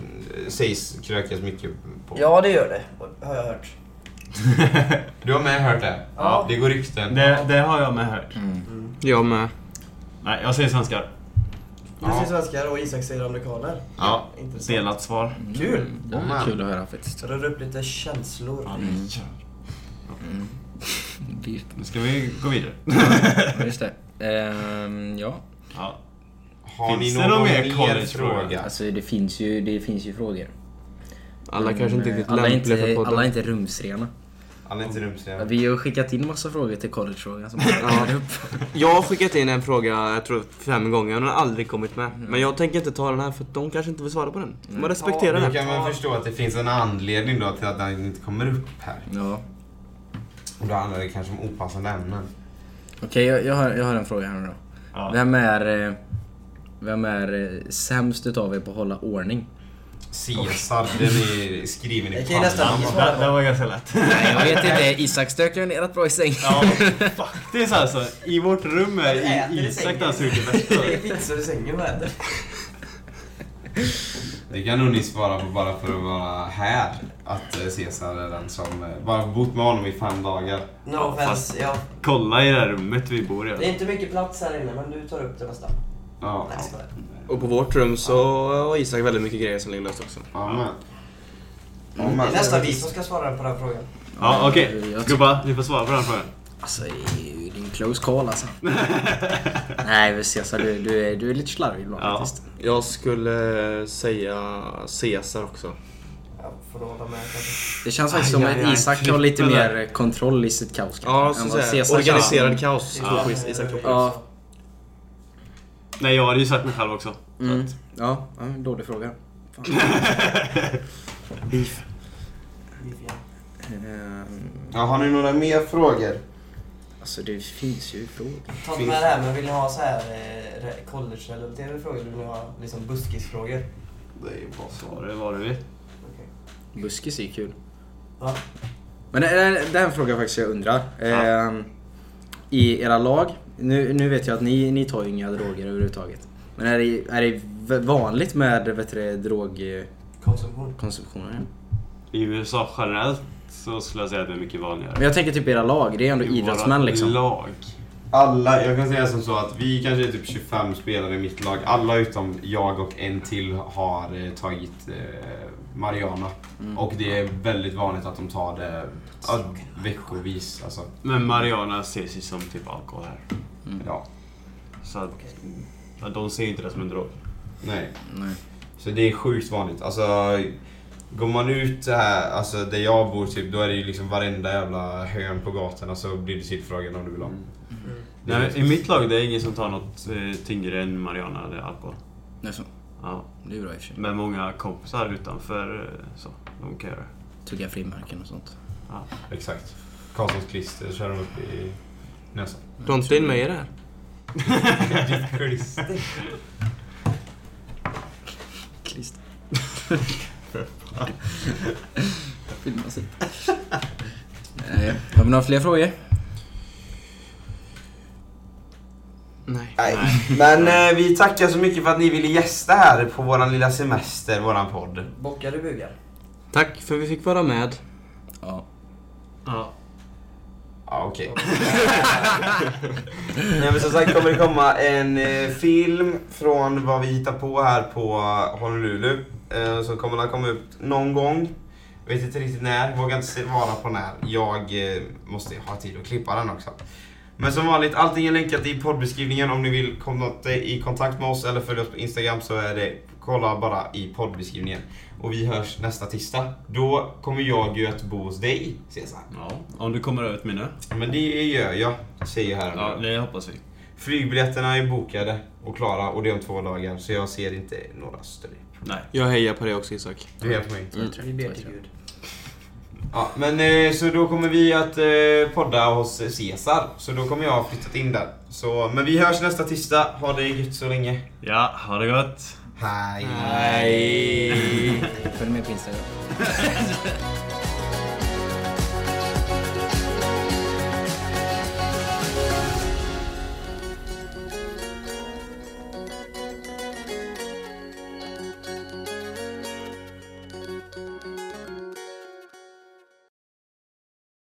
A: sägs krökas mycket på.
D: Ja, det gör det. Har jag hört.
A: Du har med hört det?
D: Ja.
A: Det går rykten.
B: Det, det har jag med hört.
E: Mm.
C: Jag med.
B: Nej, jag säger svenskar.
D: Du säger svenskar och Isak säger amerikaner.
B: Ja.
D: Intressant.
B: Delat svar.
C: Mm.
D: Kul!
E: Det
A: Oh,
E: är
A: man.
E: kul att höra faktiskt.
D: Rör upp lite känslor.
B: Ja, det-
E: Beef.
B: Nu ska vi gå vidare.
E: Ja, Just det. Ehm, ja,
B: Ja.
A: Har
B: Finns
A: ni
B: det
A: någon
B: någon mer
A: mer
B: collegefråga?
A: fråga?
E: alltså det finns ju, det finns ju frågor.
C: Alla kanske inte riktigt
E: Mm. alla är
C: lämpliga för
E: inte,
C: podden.
E: alla är inte rumsrena.
A: Alla är inte rumsrena.
E: Vi har skickat in massa frågor till collegefrågan som kommer upp.
C: Jag har skickat in en fråga, jag tror fem gånger, den har aldrig kommit med. Men jag tänker inte ta den här för att de kanske inte vill svara på den. Man respekterar
A: Nu
C: det.
A: kan man förstå att det finns en anledning då till att den inte kommer upp här.
E: Ja.
A: Och då handlar det kanske om opassande ämnen.
E: Okej, jag, jag, har, jag har en fråga här nu då.
B: Ja.
E: Vem är, eh, vem är eh, sämst utav er på att hålla ordning?
A: Caesar, den är skriven i
D: Jag kan ju nästan
A: pannan.
D: svara
B: Det, det
D: på.
B: var ganska lätt.
E: Nej, jag vet inte. Isak stök ju ner ett bra i säng.
B: Ja, faktiskt alltså. I vårt rum är
D: Du äter i
B: i- Isak
D: sängen.
B: den som gjort det
D: Det är
B: bästa.
D: pizzor i sängen vad äter.
A: Det kan nog ni svara på bara för att vara här. Att eh, Caesar är den som eh, bara bott med honom i fem dagar.
D: No
B: Ja,
D: offense, ja.
B: Kolla i det här rummet vi bor i.
D: Det är inte mycket plats här inne men du tar upp det mesta.
A: Ja.
D: Nej, jag skojar.
C: Och på vårt rum så har Isak väldigt mycket grejer som ligger löst också.
A: Amen.
D: Det är
A: Amen.
D: nästan vi som ska svara på den här frågan.
B: Ja, okej.
E: Jag
B: Gubbar, ni får svara på den frågan.
E: Alltså, det är ju- det är en close call alltså. Nej, vi ses. Du, du, är, du är lite slarvig ibland
B: Ja.
E: faktiskt.
C: Jag skulle säga Cesar också.
D: Jag får nog hålla med kanske.
E: Det känns faktiskt
C: Aj,
E: som
C: aj,
E: att
C: aj,
E: Isak har lite
B: klippen där.
E: mer eh, kontroll i sitt kaos. kanske,
C: Ja,
E: än
C: så
E: vad
C: att säga.
E: Cesar
C: Organiserad
E: känns.
C: kaos. tror
B: Ja.
C: jag på Isak tror på.
E: Ja.
B: Nej, jag hade ju sagt mig själv också. Så
E: Mm.
B: att-
E: Ja, ja, en dålig fråga. Fan.
D: Vi får-
E: Ehm,
A: Ja, har ni några mer frågor?
E: alltså, det finns ju frågor.
D: Ta inte med det här men vill ni ha så här eh, re- college-relaterade frågor eller vill ni ha liksom buskisfrågor?
A: Det är bara
B: Var det vad du vill.
D: Okej.
E: Buskis är ju kul.
D: Va?
E: Men det är, det är en fråga faktiskt jag undrar. Ehm, I era lag, nu, nu vet jag att ni, ni tar ju inga droger överhuvudtaget. Men är det, är det v- vanligt med vet du, det, drogkonsumtion?
D: Konsumtion.
B: I USA generellt så skulle jag säga att det är mycket vanligare.
E: Men jag tänker typ era lag, det är ändå
B: I
E: idrottsmän
B: våra
E: liksom.
B: Lag.
A: Alla, jag kan säga som så att vi kanske är typ 25 spelare i mitt lag. Alla utom jag och en till har eh, tagit eh, Mariana. Och det är väldigt vanligt att de tar det ja, veckovis. Alltså,
B: Men Mariana ses ju som typ alkohol här.
A: ja.
B: Så att, ja, de ser ju inte det som en drog.
A: Nej.
E: Nej.
A: Så det är sjukt vanligt. Alltså, går man ut så här, alltså där jag bor, typ, då är det ju liksom varenda jävla hörn på gatorna så blir det typ frågan om du vill ha.
E: Mm.
D: Mm.
B: Nej, men I mitt lag det är ingen som tar något eh, tyngre än Mariana eller alkohol.
E: Nej, så.
B: Ja.
E: Det är bra i och för sig.
B: Med många kompisar utanför eh, så. De kan göra det.
E: Tugga frimärken och sånt.
A: Exakt. Karlssons klister kör de upp i näsan.
C: Du har inte in mig i det här?
A: Ditt klister.
E: Klister. Filmas inte. Nej. Eh, Har vi några fler frågor?
C: Nej.
A: Nej. Men eh, vi tackar så mycket för att ni ville gästa här på våran lilla semester, våran podd.
D: Bockar du bugar?
C: Tack för vi fick vara med.
E: Ja.
B: Ja.
A: Ja, okej. Nej, men som sagt kommer det komma en eh, film från vad vi hittar på här på Honolulu. Eh, så kommer den komma ut någon gång. Vet inte riktigt när, vågar inte svara på när. Jag eh, måste ha tid att klippa den också. Men som vanligt, allting är länkat i poddbeskrivningen. Om ni vill komma i kontakt med oss eller följa oss på Instagram så är det kolla bara i poddbeskrivningen. Och vi hörs nästa tisdag. Då kommer jag ju att bo hos dig, Cesar.
B: ja. Om du kommer över ett minne.
A: Men det gör jag, säger här
B: Ja,
A: och nu.
B: det hoppas vi.
A: Flygbiljetterna är bokade och klara och det är om två dagar så jag ser inte några större.
B: Nej.
C: Jag hejar på dig också Isak.
A: Du hjälper mig.
D: Vi ber till Gud.
A: Ja, men eh, så då kommer vi att eh, podda hos Cesar. Så då kommer jag ha flyttat in där. Så, men vi hörs nästa tisdag. Ha det gött så länge.
B: Ja, ha det gott.
A: Hej.
E: Följ med på Instagram.